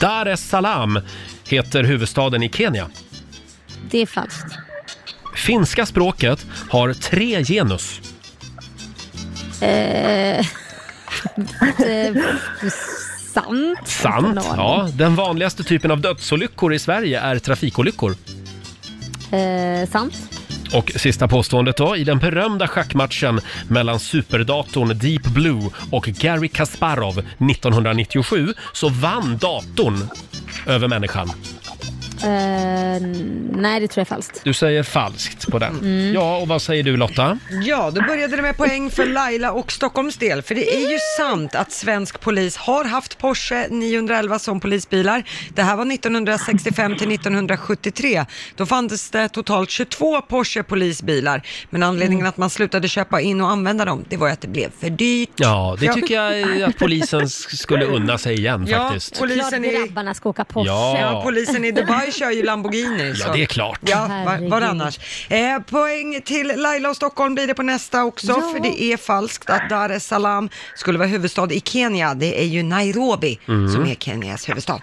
[SPEAKER 1] Dar es Salaam heter huvudstaden i Kenya.
[SPEAKER 3] Det är falskt.
[SPEAKER 1] Finska språket har tre genus.
[SPEAKER 3] Eh, eh, sant?
[SPEAKER 1] Sant.
[SPEAKER 3] Inte en aning.
[SPEAKER 1] Ja, den vanligaste typen av dödsolyckor i Sverige är trafikolyckor.
[SPEAKER 3] Eh, sant.
[SPEAKER 1] Och sista påståendet då. I den berömda schackmatchen mellan superdatorn Deep Blue och Gary Kasparov 1997 så vann datorn över människan.
[SPEAKER 3] Eh, nej, det tror jag är falskt.
[SPEAKER 1] Du säger falskt på den.
[SPEAKER 3] Mm.
[SPEAKER 1] Ja, och vad säger du Lotta?
[SPEAKER 2] Ja, då började det med poäng för Laila och Stockholms del, för det är ju sant att svensk polis har haft Porsche 911 som polisbilar. Det här var 1965 till 1973. Då fanns det totalt 22 Porsche polisbilar, men anledningen att man slutade köpa in och använda dem, det var ju att det blev för dyrt.
[SPEAKER 1] Ja, det
[SPEAKER 2] Ja.
[SPEAKER 1] tycker jag att polisen s- skulle unna sig igen faktiskt.
[SPEAKER 2] polisen i...
[SPEAKER 3] grabbarna ska åka Porsche.
[SPEAKER 1] Ja.
[SPEAKER 2] polisen i Dubai kör ju Lamborghini.
[SPEAKER 1] Ja, det är klart.
[SPEAKER 2] Ja, var,
[SPEAKER 1] Herregud.
[SPEAKER 2] var annars. Eh, poäng till Laila och Stockholm blir det på nästa också,
[SPEAKER 3] Ja.
[SPEAKER 2] för det är falskt att Dar es Salaam skulle vara huvudstad i Kenya. Det är ju Nairobi
[SPEAKER 5] Mm.
[SPEAKER 2] som är Kenyas huvudstad.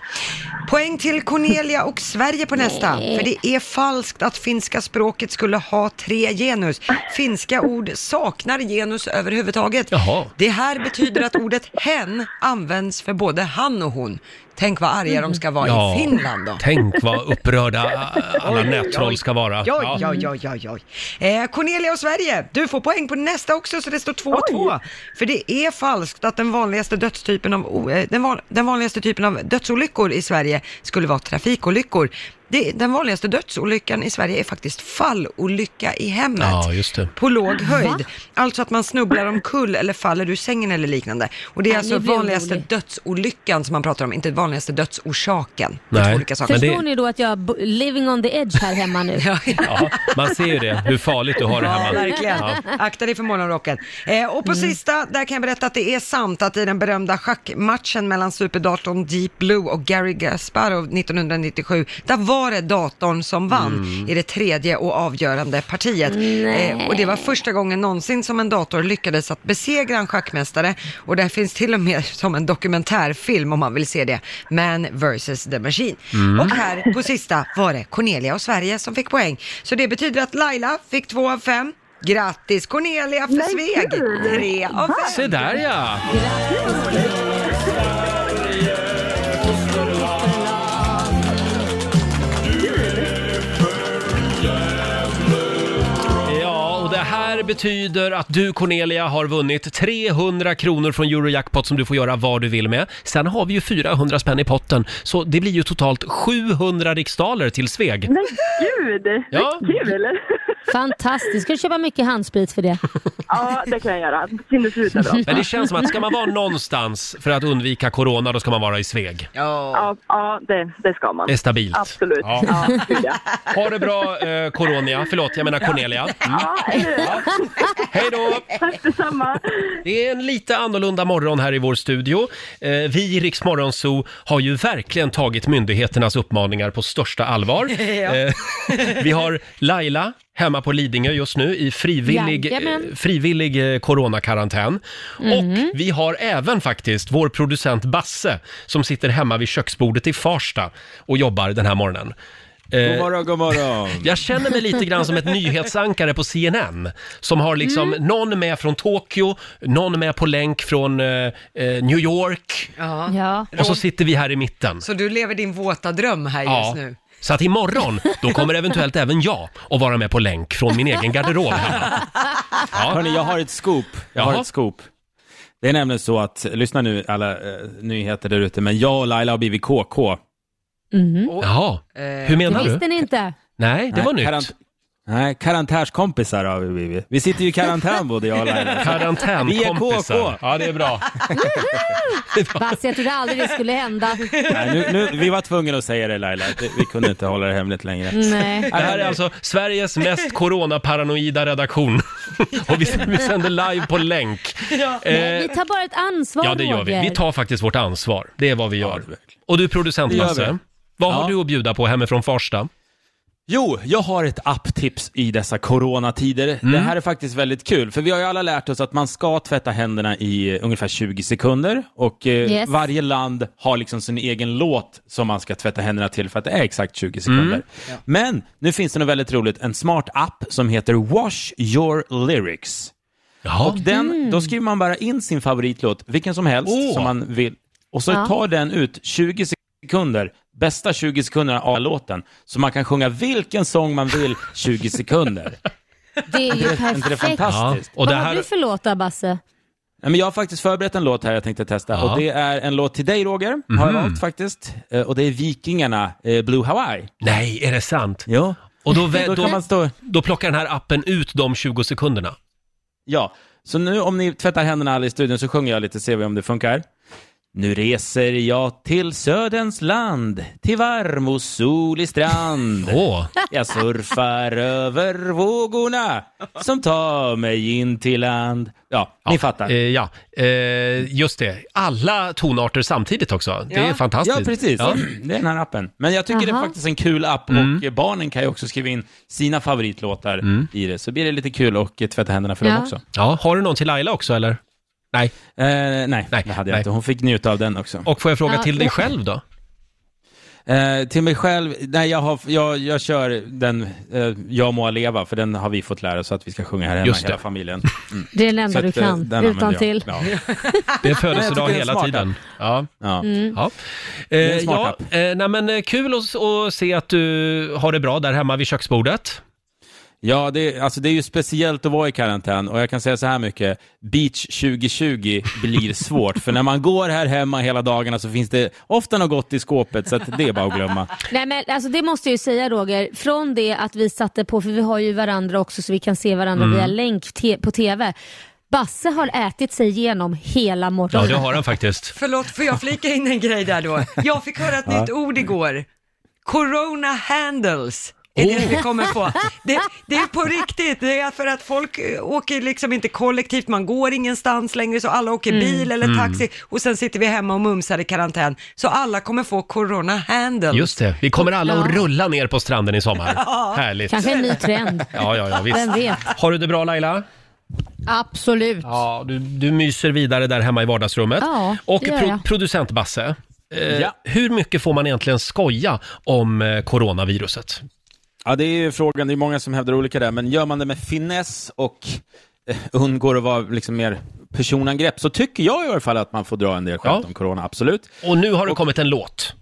[SPEAKER 2] Poäng till Cornelia och Sverige på nästa,
[SPEAKER 5] Nej.
[SPEAKER 2] för det är falskt att finska språket skulle ha tre genus. Finska ord saknar genus överhuvudtaget. Det här betyder att ordet hen används för både han och hon. Tänk vad arga de ska vara
[SPEAKER 1] Ja,
[SPEAKER 2] i Finland då.
[SPEAKER 1] Tänk vad
[SPEAKER 2] [LAUGHS]
[SPEAKER 1] upprörda äh, alla
[SPEAKER 2] Oj, oj,
[SPEAKER 1] nättroll ska vara.
[SPEAKER 2] Oj, oj, oj, oj, oj. Eh, Cornelia och Sverige, du får poäng på nästa också så det står 2-2. För det är falskt att den vanligaste, dödstypen av, o- eh, den, van, den vanligaste typen av dödsolyckor i Sverige skulle vara trafikolyckor. Det, den vanligaste dödsolyckan i Sverige är faktiskt fallolycka i hemmet.
[SPEAKER 1] Ja, just det.
[SPEAKER 2] På låg höjd.
[SPEAKER 1] Va?
[SPEAKER 2] Alltså att man snubblar omkull eller faller ur sängen eller liknande. Och det är
[SPEAKER 3] Nej,
[SPEAKER 2] alltså
[SPEAKER 3] nu blir jag
[SPEAKER 2] vanligaste
[SPEAKER 3] orolig.
[SPEAKER 2] dödsolyckan som man pratar om, inte vanligaste dödsorsaken. Det är
[SPEAKER 1] Nej,
[SPEAKER 2] två olika saker.
[SPEAKER 3] Förstår ni då att jag är bo- living on the edge här hemma nu?
[SPEAKER 1] [LAUGHS] Ja, man ser ju det, hur farligt du har det
[SPEAKER 2] Ja,
[SPEAKER 1] hemma.
[SPEAKER 2] verkligen.
[SPEAKER 1] Ja.
[SPEAKER 2] Akta dig för morgonrocken. Eh, och på sista, där kan jag berätta att det är sant att i den berömda schackmatchen mellan superdatorn Deep Blue och Gary Gasparov 1997, där var det datorn som vann i det tredje och avgörande partiet. Eh,
[SPEAKER 3] Nej.
[SPEAKER 2] och det var första gången någonsin som en dator lyckades att besegra en schackmästare och det finns till och med som en dokumentärfilm om man vill se det, Man vs the Machine.
[SPEAKER 5] Mm.
[SPEAKER 2] Och här på sista var det Cornelia och Sverige som fick poäng. Så det betyder att Laila fick två av fem. Grattis Cornelia för Sveg! Tre av fem.
[SPEAKER 1] Se där ja! Ja, och det här betyder att du Cornelia har vunnit 300 kronor från Eurojackpot som du får göra vad du vill med. Sen har vi ju 400 spänn i potten, så det blir ju totalt 700 riksdaler till Sveg.
[SPEAKER 9] Men gud,
[SPEAKER 1] Ja.
[SPEAKER 9] vad kul!
[SPEAKER 3] Fantastiskt, ska du köpa mycket handsprit för det?
[SPEAKER 9] Ja, det kan jag göra. Sinnessjuka bra.
[SPEAKER 1] Men det känns som att ska man vara någonstans för att undvika corona, då ska man vara i Sveg.
[SPEAKER 9] Ja, ja det, det ska man.
[SPEAKER 1] Det är stabilt.
[SPEAKER 9] Absolut.
[SPEAKER 1] Ja.
[SPEAKER 9] Ja, gud, ja.
[SPEAKER 1] Ha det bra, eh, Coronia. Förlåt, jag menar Cornelia. Mm.
[SPEAKER 9] Ja, eller hur?
[SPEAKER 1] Hej då!
[SPEAKER 9] Tack detsamma.
[SPEAKER 1] Det är en lite annorlunda morgon här i vår studio. Eh, vi i Rix Morgon Zoo har ju verkligen tagit myndigheternas uppmaningar på största allvar.
[SPEAKER 5] Ja.
[SPEAKER 1] Eh, vi har Laila hemma på Lidingö just nu i frivillig, eh,
[SPEAKER 5] Jajamän.
[SPEAKER 1] frivillig eh, coronakarantän. Och vi har även faktiskt vår producent Basse som sitter hemma vid köksbordet i Farsta och jobbar den här morgonen. Eh,
[SPEAKER 15] God morgon, god morgon.
[SPEAKER 1] jag känner mig lite grann som
[SPEAKER 2] [LAUGHS]
[SPEAKER 1] ett nyhetsankare på CNN som har liksom
[SPEAKER 2] Mm.
[SPEAKER 1] någon med från Tokyo, någon med på länk från eh, eh, New York
[SPEAKER 2] Ja.
[SPEAKER 1] och så sitter vi här i mitten.
[SPEAKER 2] Så du lever din våta dröm här just nu.
[SPEAKER 1] Så att imorgon, då kommer eventuellt även jag att vara med på länk från min egen garderob hemma.
[SPEAKER 15] Hörni, jag har ett scoop. Jag har
[SPEAKER 1] Jaha.
[SPEAKER 15] ett scoop. Det är nämligen så att, lyssna nu alla eh, nyheter där ute, men jag och Laila har blivit KK.
[SPEAKER 3] Mm.
[SPEAKER 1] Jaha,
[SPEAKER 2] Eh,
[SPEAKER 1] hur menar
[SPEAKER 3] det
[SPEAKER 15] du?
[SPEAKER 3] visste ni inte.
[SPEAKER 1] Nej, det var nytt.
[SPEAKER 15] karant- Nej, karantärskompisar har vi blivit. Vi sitter ju i karantän både jag och
[SPEAKER 1] [LAUGHS]
[SPEAKER 15] Laila.
[SPEAKER 1] Karantänkompisar.
[SPEAKER 15] Vi är KK.
[SPEAKER 1] Ja, det är bra.
[SPEAKER 3] Basse, jag trodde aldrig det skulle
[SPEAKER 1] [LAUGHS]
[SPEAKER 3] hända.
[SPEAKER 15] Nej, nu, nu, vi var tvungna att säga det Laila, Det- vi kunde inte hålla det hemligt längre.
[SPEAKER 1] alltså- [LAUGHS]
[SPEAKER 3] Nej.
[SPEAKER 1] Det här är alltså Sveriges mest coronaparanoida redaktion. Och vi, vi sänder live på länk.
[SPEAKER 3] Ja.
[SPEAKER 1] Eh,
[SPEAKER 3] Nej, vi tar bara ett ansvar,
[SPEAKER 1] Ja, det gör vi. Vi
[SPEAKER 3] Roger.
[SPEAKER 1] tar faktiskt vårt ansvar. Det är vad vi gör. Och du producent
[SPEAKER 15] Det gör vi.
[SPEAKER 1] Lasse, vad har
[SPEAKER 15] Ja.
[SPEAKER 1] du att bjuda på hemifrån Farsta?
[SPEAKER 15] Jo, jag har ett apptips i dessa coronatider. Det
[SPEAKER 1] Mm.
[SPEAKER 15] här är faktiskt väldigt kul, för vi har ju alla lärt oss att man ska tvätta händerna i eh, ungefär 20 sekunder och eh,
[SPEAKER 5] Yes.
[SPEAKER 15] varje land har liksom sin egen låt som man ska tvätta händerna till för att det är exakt 20 sekunder.
[SPEAKER 5] Mm.
[SPEAKER 15] Men nu finns det något väldigt roligt, en smart app som heter Wash Your Lyrics. Och den, då skriver man bara in sin favoritlåt, vilken som helst, som man vill. Och så
[SPEAKER 5] Ja.
[SPEAKER 15] tar den ut 20 sekunder, bästa 20 sekunderna av låten, så man kan sjunga vilken sång man vill
[SPEAKER 5] [LAUGHS]
[SPEAKER 15] 20 sekunder.
[SPEAKER 3] Det är ju
[SPEAKER 15] Är inte det
[SPEAKER 3] perfekt.
[SPEAKER 15] fantastiskt?
[SPEAKER 3] Vad har du för låta, Basse?
[SPEAKER 15] Nej, men jag har faktiskt förberett en låt här jag tänkte testa.
[SPEAKER 5] Ja.
[SPEAKER 15] Och det är en låt till dig Roger, har jag
[SPEAKER 5] Mhm.
[SPEAKER 15] valt faktiskt. Eh, Och det är Vikingarna, eh, Blue Hawaii.
[SPEAKER 1] Nej, är det sant?
[SPEAKER 15] Ja.
[SPEAKER 1] Och då,
[SPEAKER 15] [LAUGHS]
[SPEAKER 1] vä-
[SPEAKER 15] då, kan man stå...
[SPEAKER 1] då plockar den här appen ut de 20 sekunderna.
[SPEAKER 15] Ja, så nu om ni tvättar händerna alla i studion så sjunger jag lite, ser vi om det funkar. Nu reser jag till söderns land, till varm och solig strand. Jag [LAUGHS] surfar över vågorna som tar mig in till land. Ja, [LAUGHS] ni fattar.
[SPEAKER 1] Eh, ja, eh, just det. Alla tonarter samtidigt också. Det är
[SPEAKER 15] Ja.
[SPEAKER 1] fantastiskt.
[SPEAKER 15] Ja, precis. Det är den här appen. Men jag tycker det
[SPEAKER 1] Jaha.
[SPEAKER 15] är faktiskt en kul app och eh, barnen kan ju också skriva in sina favoritlåtar i det. Så blir det lite kul och eh, tvätta händerna för
[SPEAKER 1] Ja.
[SPEAKER 15] dem också. Eh,
[SPEAKER 1] Ja, har du någon till Laila också eller? Nej.
[SPEAKER 15] nej, det hade jag inte. Hon fick njuta av den också.
[SPEAKER 1] Och får jag fråga
[SPEAKER 15] Ja,
[SPEAKER 1] till dig
[SPEAKER 15] ja.
[SPEAKER 1] själv
[SPEAKER 3] [LAUGHS]
[SPEAKER 1] då?
[SPEAKER 15] Eh, till mig själv, nej jag, har, jag, jag kör den eh, Jag må leva, för den har vi fått lära oss att vi ska sjunga här hemma,
[SPEAKER 1] Just det.
[SPEAKER 15] hela
[SPEAKER 3] [LAUGHS]
[SPEAKER 15] familjen. Mm.
[SPEAKER 3] Det är den enda
[SPEAKER 15] Så
[SPEAKER 3] du
[SPEAKER 15] att, eh,
[SPEAKER 3] kan,
[SPEAKER 15] den använder
[SPEAKER 3] utan
[SPEAKER 15] jag.
[SPEAKER 3] till. [LAUGHS]
[SPEAKER 15] Ja.
[SPEAKER 1] Det är
[SPEAKER 15] Nej, jag tycker
[SPEAKER 1] födelsedag
[SPEAKER 15] det är
[SPEAKER 1] hela
[SPEAKER 15] smart
[SPEAKER 1] tiden. Ja.
[SPEAKER 15] Ja.
[SPEAKER 3] Mm.
[SPEAKER 1] Ja.
[SPEAKER 15] är en
[SPEAKER 1] Eh,
[SPEAKER 15] smart
[SPEAKER 1] ja,
[SPEAKER 15] app.
[SPEAKER 1] eh, nej, men, eh, kul att, att se att du har det bra där hemma vid köksbordet.
[SPEAKER 15] Ja, det, är- alltså det är ju speciellt att vara i karantän och jag kan säga så här mycket, beach 2020 blir svårt, för när man går här hemma hela dagarna så finns det ofta något gott i skåpet, så att det är bara att glömma.
[SPEAKER 3] Nej men alltså det måste jag ju säga Roger, från det att vi satte på, för vi har ju varandra också så vi kan se varandra
[SPEAKER 1] Mm.
[SPEAKER 3] via länk te- på TV. Basse har ätit sig igenom hela
[SPEAKER 1] Ja,
[SPEAKER 3] morgonen.
[SPEAKER 1] det har han faktiskt.
[SPEAKER 2] Förlåt, får jag flika in en grej där då? Jag fick höra ett
[SPEAKER 1] Ja.
[SPEAKER 2] nytt ord igår. Corona handles. Är det
[SPEAKER 1] Oh.
[SPEAKER 2] vi kommer på. Det, det är på riktigt, det är för att folk eh, åker liksom inte kollektivt, man går ingenstans längre så alla åker
[SPEAKER 5] Mm.
[SPEAKER 2] bil eller
[SPEAKER 1] Mm.
[SPEAKER 2] taxi och sen sitter vi hemma och mumsar i karantän. Så alla kommer få corona handles.
[SPEAKER 1] Just det, vi kommer alla att rulla ner på stranden i sommar.
[SPEAKER 2] Ja.
[SPEAKER 1] Härligt.
[SPEAKER 3] Kanske en ny
[SPEAKER 15] [LAUGHS]
[SPEAKER 3] trend.
[SPEAKER 1] Ja, ja, ja, visst.
[SPEAKER 3] Vem vet?
[SPEAKER 1] Har du det bra Laila?
[SPEAKER 3] Absolut.
[SPEAKER 1] Ja, du, du myser vidare där hemma i vardagsrummet.
[SPEAKER 3] Ja, det
[SPEAKER 1] Och
[SPEAKER 3] gör
[SPEAKER 1] pro-
[SPEAKER 3] jag.
[SPEAKER 1] producent Basse, eh,
[SPEAKER 15] Ja.
[SPEAKER 1] hur mycket får man egentligen skoja om eh, coronaviruset?
[SPEAKER 15] Ja, det är ju frågan. Det är många som hävdar olika där, men gör man det med finess och eh, undgår att vara liksom mer personangrepp så tycker jag i alla fall att man får dra en del skämt om corona, absolut.
[SPEAKER 1] Och nu har det kommit en låt.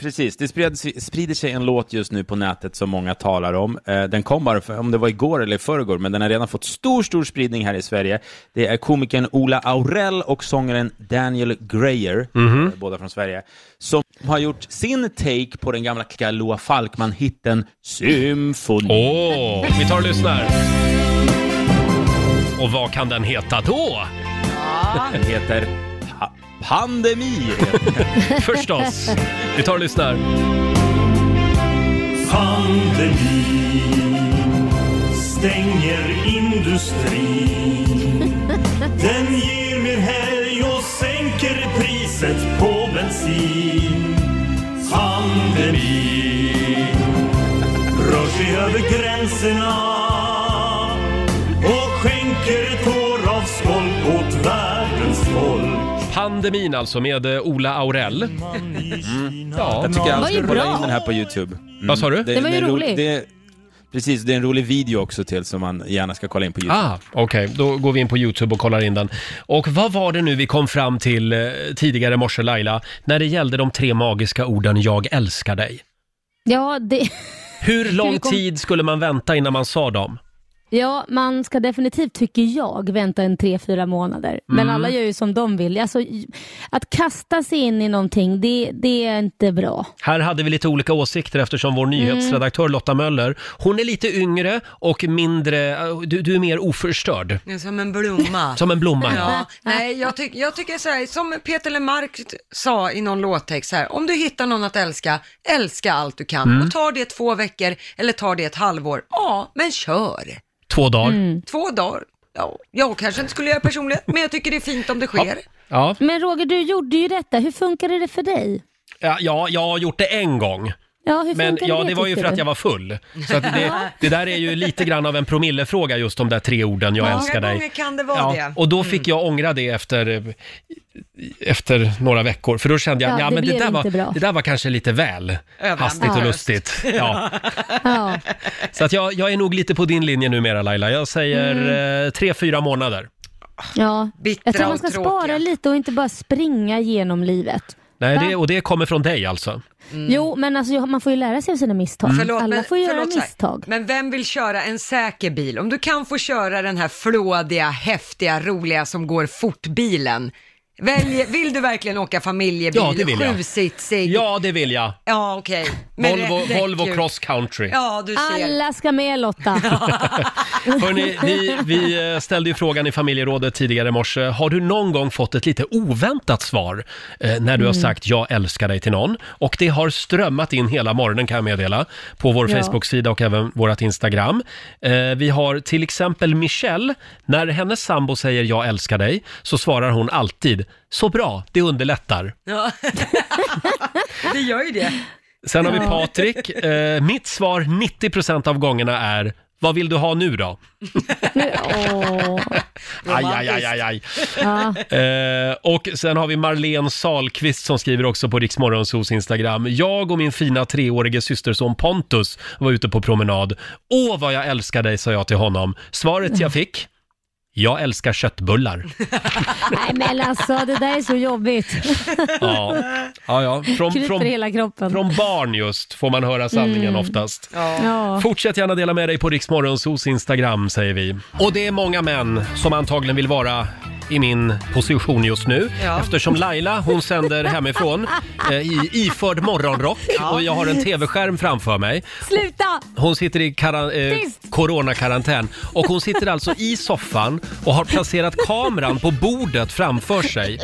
[SPEAKER 15] Precis, det sprider, sprider sig en låt just nu på nätet som många talar om. Eh, Den kom bara, för, om det var igår eller i förrgår, men den har redan fått stor, stor spridning här i Sverige. Det är komikern Ola Aurell och sångaren Daniel Greyer,
[SPEAKER 5] Mhm.
[SPEAKER 15] eh, båda från Sverige, som har gjort sin take på den gamla klassiska Loa Falkman-hitten Symfoni.
[SPEAKER 1] Åh, vi tar och lyssnar. Och vad kan den heta då?
[SPEAKER 15] Den heter pa- Pandemi. heter den.
[SPEAKER 1] Förstås. Vi tar och lyssnar.
[SPEAKER 5] Pandemin stänger industrin. Den ger mer helg och sänker priset på bensin. Pandemin rör sig över gränserna och skänker en tår av skolk åt världens folk.
[SPEAKER 1] Pandemin alltså med eh, Ola Aurell. Mm. Ja.
[SPEAKER 15] Jag tycker alla
[SPEAKER 1] Det var ju
[SPEAKER 15] ska kolla
[SPEAKER 1] bra.
[SPEAKER 15] in den här på YouTube. Mm.
[SPEAKER 1] Vad sa du?
[SPEAKER 3] Den var ju
[SPEAKER 15] är ro-
[SPEAKER 3] rolig.
[SPEAKER 15] det är- precis, det är en rolig video också till som man gärna ska kolla in på YouTube.
[SPEAKER 1] Ah, Okej, då går vi in på YouTube och kollar in den. Och vad var det nu vi kom fram till eh, tidigare i morse Laila, när det gällde de tre magiska orden “Jag älskar dig”?
[SPEAKER 3] Ja, det...
[SPEAKER 1] Hur lång
[SPEAKER 3] Vi kom-
[SPEAKER 1] tid skulle man vänta innan man sa dem?
[SPEAKER 3] Ja, man ska definitivt, tycker jag, vänta en tre, fyra månader. Men
[SPEAKER 1] Mm.
[SPEAKER 3] alla gör ju som de vill. Alltså, att kasta sig in i någonting, det, det är inte bra.
[SPEAKER 1] Här hade vi lite olika åsikter eftersom vår nyhetsredaktör Lotta Möller, hon är lite yngre och mindre, eh, du, du är mer oförstörd.
[SPEAKER 2] Det är Som en blomma.
[SPEAKER 1] Som en blomma, ja.
[SPEAKER 2] Ja, [LAUGHS] nej, jag, tyck, jag tycker så här, som Peter Lemark sa i någon låttext så här, om du hittar någon att älska, älska allt du kan.
[SPEAKER 1] Mm.
[SPEAKER 2] Och tar det två veckor eller tar det ett halvår, ja, men kör.
[SPEAKER 1] Två dagar.
[SPEAKER 2] Två dagar, ja, jag kanske inte skulle göra personligen, men jag tycker det är fint om det sker.
[SPEAKER 1] Ja.
[SPEAKER 3] Men Roger, du gjorde ju detta. Hur funkade det för dig?
[SPEAKER 1] Ja, ja, jag har gjort det en gång.
[SPEAKER 3] Ja, hur
[SPEAKER 1] Men
[SPEAKER 3] funkade
[SPEAKER 1] ja,
[SPEAKER 3] det,
[SPEAKER 1] det var ju
[SPEAKER 3] tycker
[SPEAKER 1] för att
[SPEAKER 3] du?
[SPEAKER 1] jag var full. Så att det, det där är ju lite grann av en promillefråga just de där tre orden, jag
[SPEAKER 2] Många
[SPEAKER 1] älskar
[SPEAKER 2] gånger
[SPEAKER 1] dig.
[SPEAKER 2] kan det vara det.
[SPEAKER 1] och då fick jag ångra det efter, efter några veckor, för då kände jag
[SPEAKER 3] Ja,
[SPEAKER 1] ja,
[SPEAKER 3] det
[SPEAKER 1] men det
[SPEAKER 3] blev
[SPEAKER 1] där,
[SPEAKER 3] inte bra.
[SPEAKER 1] var, det där var kanske lite väl hastigt och
[SPEAKER 3] Överambitiöst.
[SPEAKER 1] lustigt. Ja.
[SPEAKER 3] Ja.
[SPEAKER 1] Så att jag, jag är nog lite på din linje numera Laila, jag säger eh, tre, fyra månader.
[SPEAKER 3] Ja. Jag tror man ska
[SPEAKER 2] och tråkiga.
[SPEAKER 3] spara lite och inte bara springa genom livet.
[SPEAKER 1] Nej,
[SPEAKER 3] Va?
[SPEAKER 1] det, och det kommer från dig alltså?
[SPEAKER 3] Jo, men alltså, man får ju lära sig av sina misstag.
[SPEAKER 2] Mm.
[SPEAKER 1] Mm.
[SPEAKER 2] Förlåt,
[SPEAKER 3] Alla
[SPEAKER 2] men,
[SPEAKER 3] får ju göra
[SPEAKER 2] förlåt, så här.
[SPEAKER 3] misstag.
[SPEAKER 2] men vem vill köra en säker bil? Om du kan få köra den här flådiga, häftiga, roliga som går fort bilen. Välj, vill du verkligen åka familjebil?
[SPEAKER 1] Ja, det vill jag.
[SPEAKER 2] Sjusitsig?
[SPEAKER 1] Ja, det vill jag.
[SPEAKER 2] Ja, okej. Men
[SPEAKER 1] Volvo,
[SPEAKER 2] det- det är
[SPEAKER 1] Volvo
[SPEAKER 2] kul.
[SPEAKER 1] cross country.
[SPEAKER 2] Ja, du ser.
[SPEAKER 3] Alla ska
[SPEAKER 2] [LAUGHS]
[SPEAKER 3] med Lotta.
[SPEAKER 15] [LAUGHS]
[SPEAKER 1] Hörrni, vi, vi eh, ställde ju frågan i familjerådet tidigare i morse. Har du någon gång fått ett lite oväntat svar eh, när du har
[SPEAKER 15] Mm.
[SPEAKER 1] sagt jag älskar dig till någon? Och det har strömmat in hela morgonen kan jag meddela på vår
[SPEAKER 15] Ja.
[SPEAKER 1] Facebook-sida och även vårt Instagram. Eh, vi har till exempel Michelle. När hennes sambo säger jag älskar dig så svarar hon alltid så bra, det underlättar.
[SPEAKER 2] [LAUGHS] Ja. det gör ju det.
[SPEAKER 1] Sen har vi
[SPEAKER 2] Ja.
[SPEAKER 1] Patrik. Eh, mitt svar 90% av gångerna är vad vill du ha nu då?
[SPEAKER 3] Åh.
[SPEAKER 1] Aj, aj, aj, aj, aj.
[SPEAKER 3] Ja.
[SPEAKER 1] Eh, och sen har vi Marlene Salqvist som skriver också på Riksmorgonsos Instagram. Jag och min fina treårige systerson Pontus var ute på promenad. Åh, vad jag älskar dig, sa jag till honom. Svaret jag fick? Jag älskar
[SPEAKER 3] [LAUGHS]
[SPEAKER 1] köttbullar.
[SPEAKER 3] Nej men alltså, det där är så jobbigt.
[SPEAKER 1] Ja, ja, ja. Från,
[SPEAKER 3] [LAUGHS] Kryper i
[SPEAKER 1] från,
[SPEAKER 3] hela kroppen.
[SPEAKER 1] från barn just får man höra sanningen
[SPEAKER 3] Mm.
[SPEAKER 1] oftast.
[SPEAKER 3] Ja.
[SPEAKER 1] Fortsätt gärna dela med dig på Riksmorgonsos Instagram säger vi. Och det är många män som antagligen vill vara i min position just nu.
[SPEAKER 15] Ja.
[SPEAKER 1] Eftersom Laila, hon sänder hemifrån eh, i iförd morgonrock och jag har en tv-skärm framför mig.
[SPEAKER 3] Sluta!
[SPEAKER 1] Hon sitter i karan- eh,
[SPEAKER 3] Tyst!
[SPEAKER 1] coronakarantän och hon sitter alltså
[SPEAKER 3] [LAUGHS]
[SPEAKER 1] i soffan och har placerat kameran på bordet framför sig.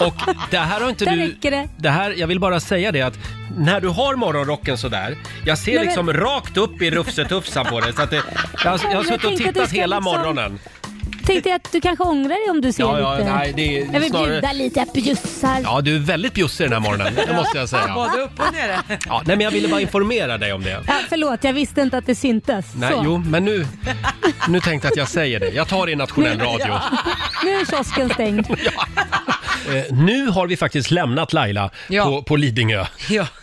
[SPEAKER 1] Och det här har inte
[SPEAKER 3] Där
[SPEAKER 1] du...
[SPEAKER 3] räcker det.
[SPEAKER 1] Det här, jag vill bara säga det att när du har morgonrocken sådär, jag ser
[SPEAKER 3] Nej, men-
[SPEAKER 1] liksom rakt upp i rufsetufsan på dig så att det, jag, har- jag har
[SPEAKER 3] Jag
[SPEAKER 1] suttit och
[SPEAKER 3] tänkte att du
[SPEAKER 1] tittat
[SPEAKER 3] ska
[SPEAKER 1] hela
[SPEAKER 3] liksom-
[SPEAKER 1] morgonen.
[SPEAKER 3] Tänkte att du kanske ångrar dig om du ser
[SPEAKER 1] Ja, ja,
[SPEAKER 3] lite...
[SPEAKER 1] nej, det är
[SPEAKER 3] jag vill
[SPEAKER 1] snarare-
[SPEAKER 3] bjuda lite, jag bjussar.
[SPEAKER 1] Ja, du är väldigt bjussig den här morgonen, det måste jag säga.
[SPEAKER 2] Både upp och nere.
[SPEAKER 1] Ja, nej, men jag ville bara informera dig om det.
[SPEAKER 3] Ja, förlåt, jag visste inte att det syntes.
[SPEAKER 1] Nej,
[SPEAKER 3] så.
[SPEAKER 1] jo, men nu, nu tänkte jag att jag säger det. Jag tar det i
[SPEAKER 3] [LAUGHS]
[SPEAKER 1] nationell radio.
[SPEAKER 3] Nu är kiosken stängd.
[SPEAKER 1] Eh, nu har vi faktiskt lämnat Laila
[SPEAKER 3] Ja.
[SPEAKER 1] på, på Lidingö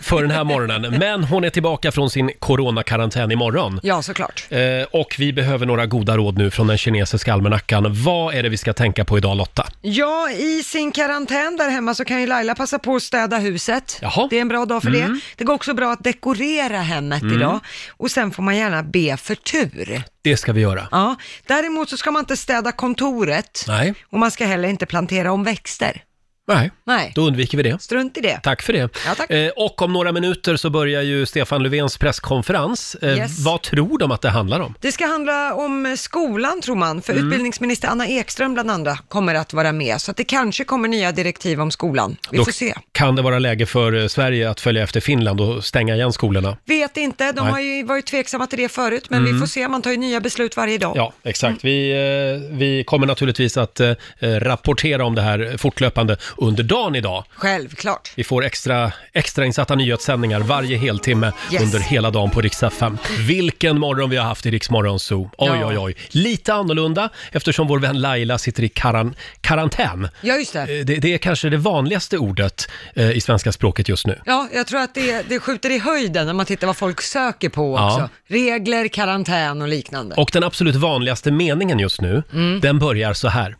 [SPEAKER 1] för den här morgonen. Men hon är tillbaka från sin coronakarantän imorgon.
[SPEAKER 2] Ja, såklart.
[SPEAKER 1] Eh, och vi behöver några goda råd nu från den kinesiska almanackan. Vad är det vi ska tänka på idag Lotta?
[SPEAKER 2] Ja, i sin karantän där hemma så kan ju Laila passa på att städa huset. Det är en bra dag för
[SPEAKER 1] Mm.
[SPEAKER 2] det. Det går också bra att dekorera hemmet
[SPEAKER 1] Mm.
[SPEAKER 2] idag. Och sen får man gärna be för tur.
[SPEAKER 1] Det ska vi göra.
[SPEAKER 2] Ja, däremot så ska man inte städa kontoret.
[SPEAKER 1] Nej.
[SPEAKER 2] Och man ska heller inte plantera om växter.
[SPEAKER 1] Nej.
[SPEAKER 2] Nej.
[SPEAKER 1] Då undviker vi det.
[SPEAKER 2] Strunt i det.
[SPEAKER 1] Tack för det. Eh, och om några minuter så börjar ju Stefan Löfvens presskonferens. Eh,
[SPEAKER 2] Yes.
[SPEAKER 1] Vad tror de att det handlar om?
[SPEAKER 2] Det ska handla om skolan tror man, för
[SPEAKER 1] Mm.
[SPEAKER 2] utbildningsminister Anna Ekström bland andra kommer att vara med. Så att det kanske kommer nya direktiv om skolan. Vi
[SPEAKER 1] Då
[SPEAKER 2] får se.
[SPEAKER 1] kan det vara läge för eh, Sverige att följa efter Finland och stänga igen skolorna.
[SPEAKER 2] Vet inte, de
[SPEAKER 1] Nej.
[SPEAKER 2] har ju varit tveksamma till det förut, men vi
[SPEAKER 1] Mm.
[SPEAKER 2] får se, man tar ju nya beslut varje dag.
[SPEAKER 1] Ja, exakt. Vi, eh, vi kommer naturligtvis att eh, rapportera om det här fortlöpande under dagen idag.
[SPEAKER 2] Självklart.
[SPEAKER 1] Vi får extra, extra insatta nyhetssändningar varje heltimme
[SPEAKER 2] Yes.
[SPEAKER 1] under hela dagen på Rix FM. Vilken morgon vi har haft i Rix Morgon Zoo. Oj,
[SPEAKER 2] Ja.
[SPEAKER 1] oj, oj. Lite annorlunda eftersom vår vän Laila sitter i karan, karantän.
[SPEAKER 2] Ja, just det.
[SPEAKER 1] Eh, Det, det är kanske det vanligaste ordet eh, i svenska språket just nu.
[SPEAKER 2] Ja, jag tror att det, det skjuter i höjden när man tittar vad folk söker på
[SPEAKER 1] Ja.
[SPEAKER 2] också. Regler, karantän och liknande.
[SPEAKER 1] Och den absolut vanligaste meningen just nu,
[SPEAKER 2] Mm.
[SPEAKER 1] den börjar så här.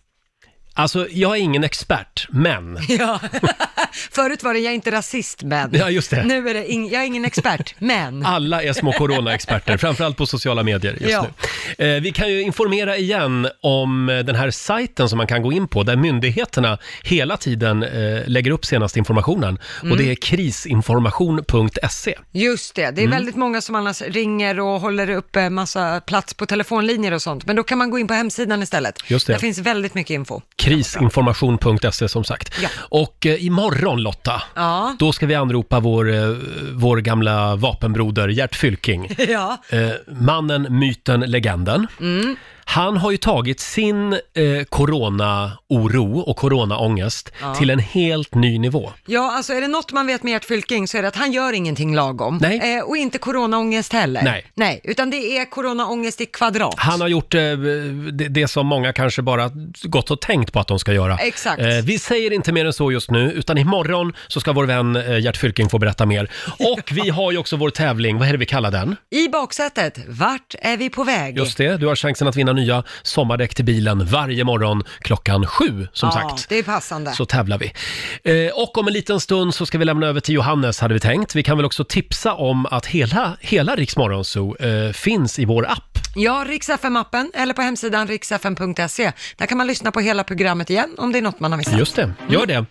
[SPEAKER 1] Alltså, jag är ingen expert, men...
[SPEAKER 2] [LAUGHS] Ja. [LAUGHS] Förut var det jag är inte rasist men.
[SPEAKER 1] Ja, just det. Ah,
[SPEAKER 2] Nu är det ing- jag är ingen expert men.
[SPEAKER 1] Alla är små
[SPEAKER 2] [LAUGHS]
[SPEAKER 1] coronaexperter, framförallt på sociala medier just
[SPEAKER 2] Ja.
[SPEAKER 1] nu. Eh, vi kan ju informera igen om eh, den här sajten som man kan gå in på, där myndigheterna hela tiden eh, lägger upp senaste informationen.
[SPEAKER 2] Mm.
[SPEAKER 1] Och det är krisinformation.se.
[SPEAKER 2] Just det, det är
[SPEAKER 1] Mm.
[SPEAKER 2] väldigt många som annars ringer och håller upp eh, massa plats på telefonlinjer och sånt. Men då kan man gå in på hemsidan istället.
[SPEAKER 1] Just det.
[SPEAKER 2] Där finns väldigt mycket info.
[SPEAKER 1] Krisinformation.se som sagt.
[SPEAKER 2] Ja.
[SPEAKER 1] Och eh, imorgon Lotta,
[SPEAKER 2] Ja. [LAUGHS]
[SPEAKER 1] då ska vi anropa vår, eh, vår gamla vapenbroder Gert Fylking.
[SPEAKER 2] ja.
[SPEAKER 1] Eh, mannen, myten, legenden.
[SPEAKER 2] Mm.
[SPEAKER 1] Han har ju tagit sin eh, corona-oro och coronaångest
[SPEAKER 2] Ja.
[SPEAKER 1] till en helt ny nivå.
[SPEAKER 2] Ja, alltså är det något man vet med Gert Fylking så är det att han gör ingenting lagom.
[SPEAKER 1] Nej.
[SPEAKER 2] Eh, och inte coronaångest heller.
[SPEAKER 1] Nej.
[SPEAKER 2] Nej, utan det är coronaångest i kvadrat.
[SPEAKER 1] Han har gjort eh, det, det som många kanske bara gått och tänkt på att de ska göra.
[SPEAKER 2] Exakt.
[SPEAKER 1] Eh, vi säger inte mer än så just nu, utan imorgon så ska vår vän eh, Gert Fylking få berätta mer. Och vi har ju också vår tävling, vad är det vi kallar den?
[SPEAKER 2] I baksätet, vart är vi på väg?
[SPEAKER 1] Just det, du har chansen att vinna nya sommardäck till bilen varje morgon klockan sju, som
[SPEAKER 2] ja,
[SPEAKER 1] sagt.
[SPEAKER 2] det är passande.
[SPEAKER 1] Så tävlar vi. Eh, och om en liten stund så ska vi lämna över till Johannes, hade vi tänkt. Vi kan väl också tipsa om att hela, hela Rix Morgon Zoo eh, finns i vår app.
[SPEAKER 2] Ja, riksfm-appen eller E. på hemsidan riksfm.se. Där kan man lyssna på hela programmet igen om det är något man har missat.
[SPEAKER 1] Just det, gör det.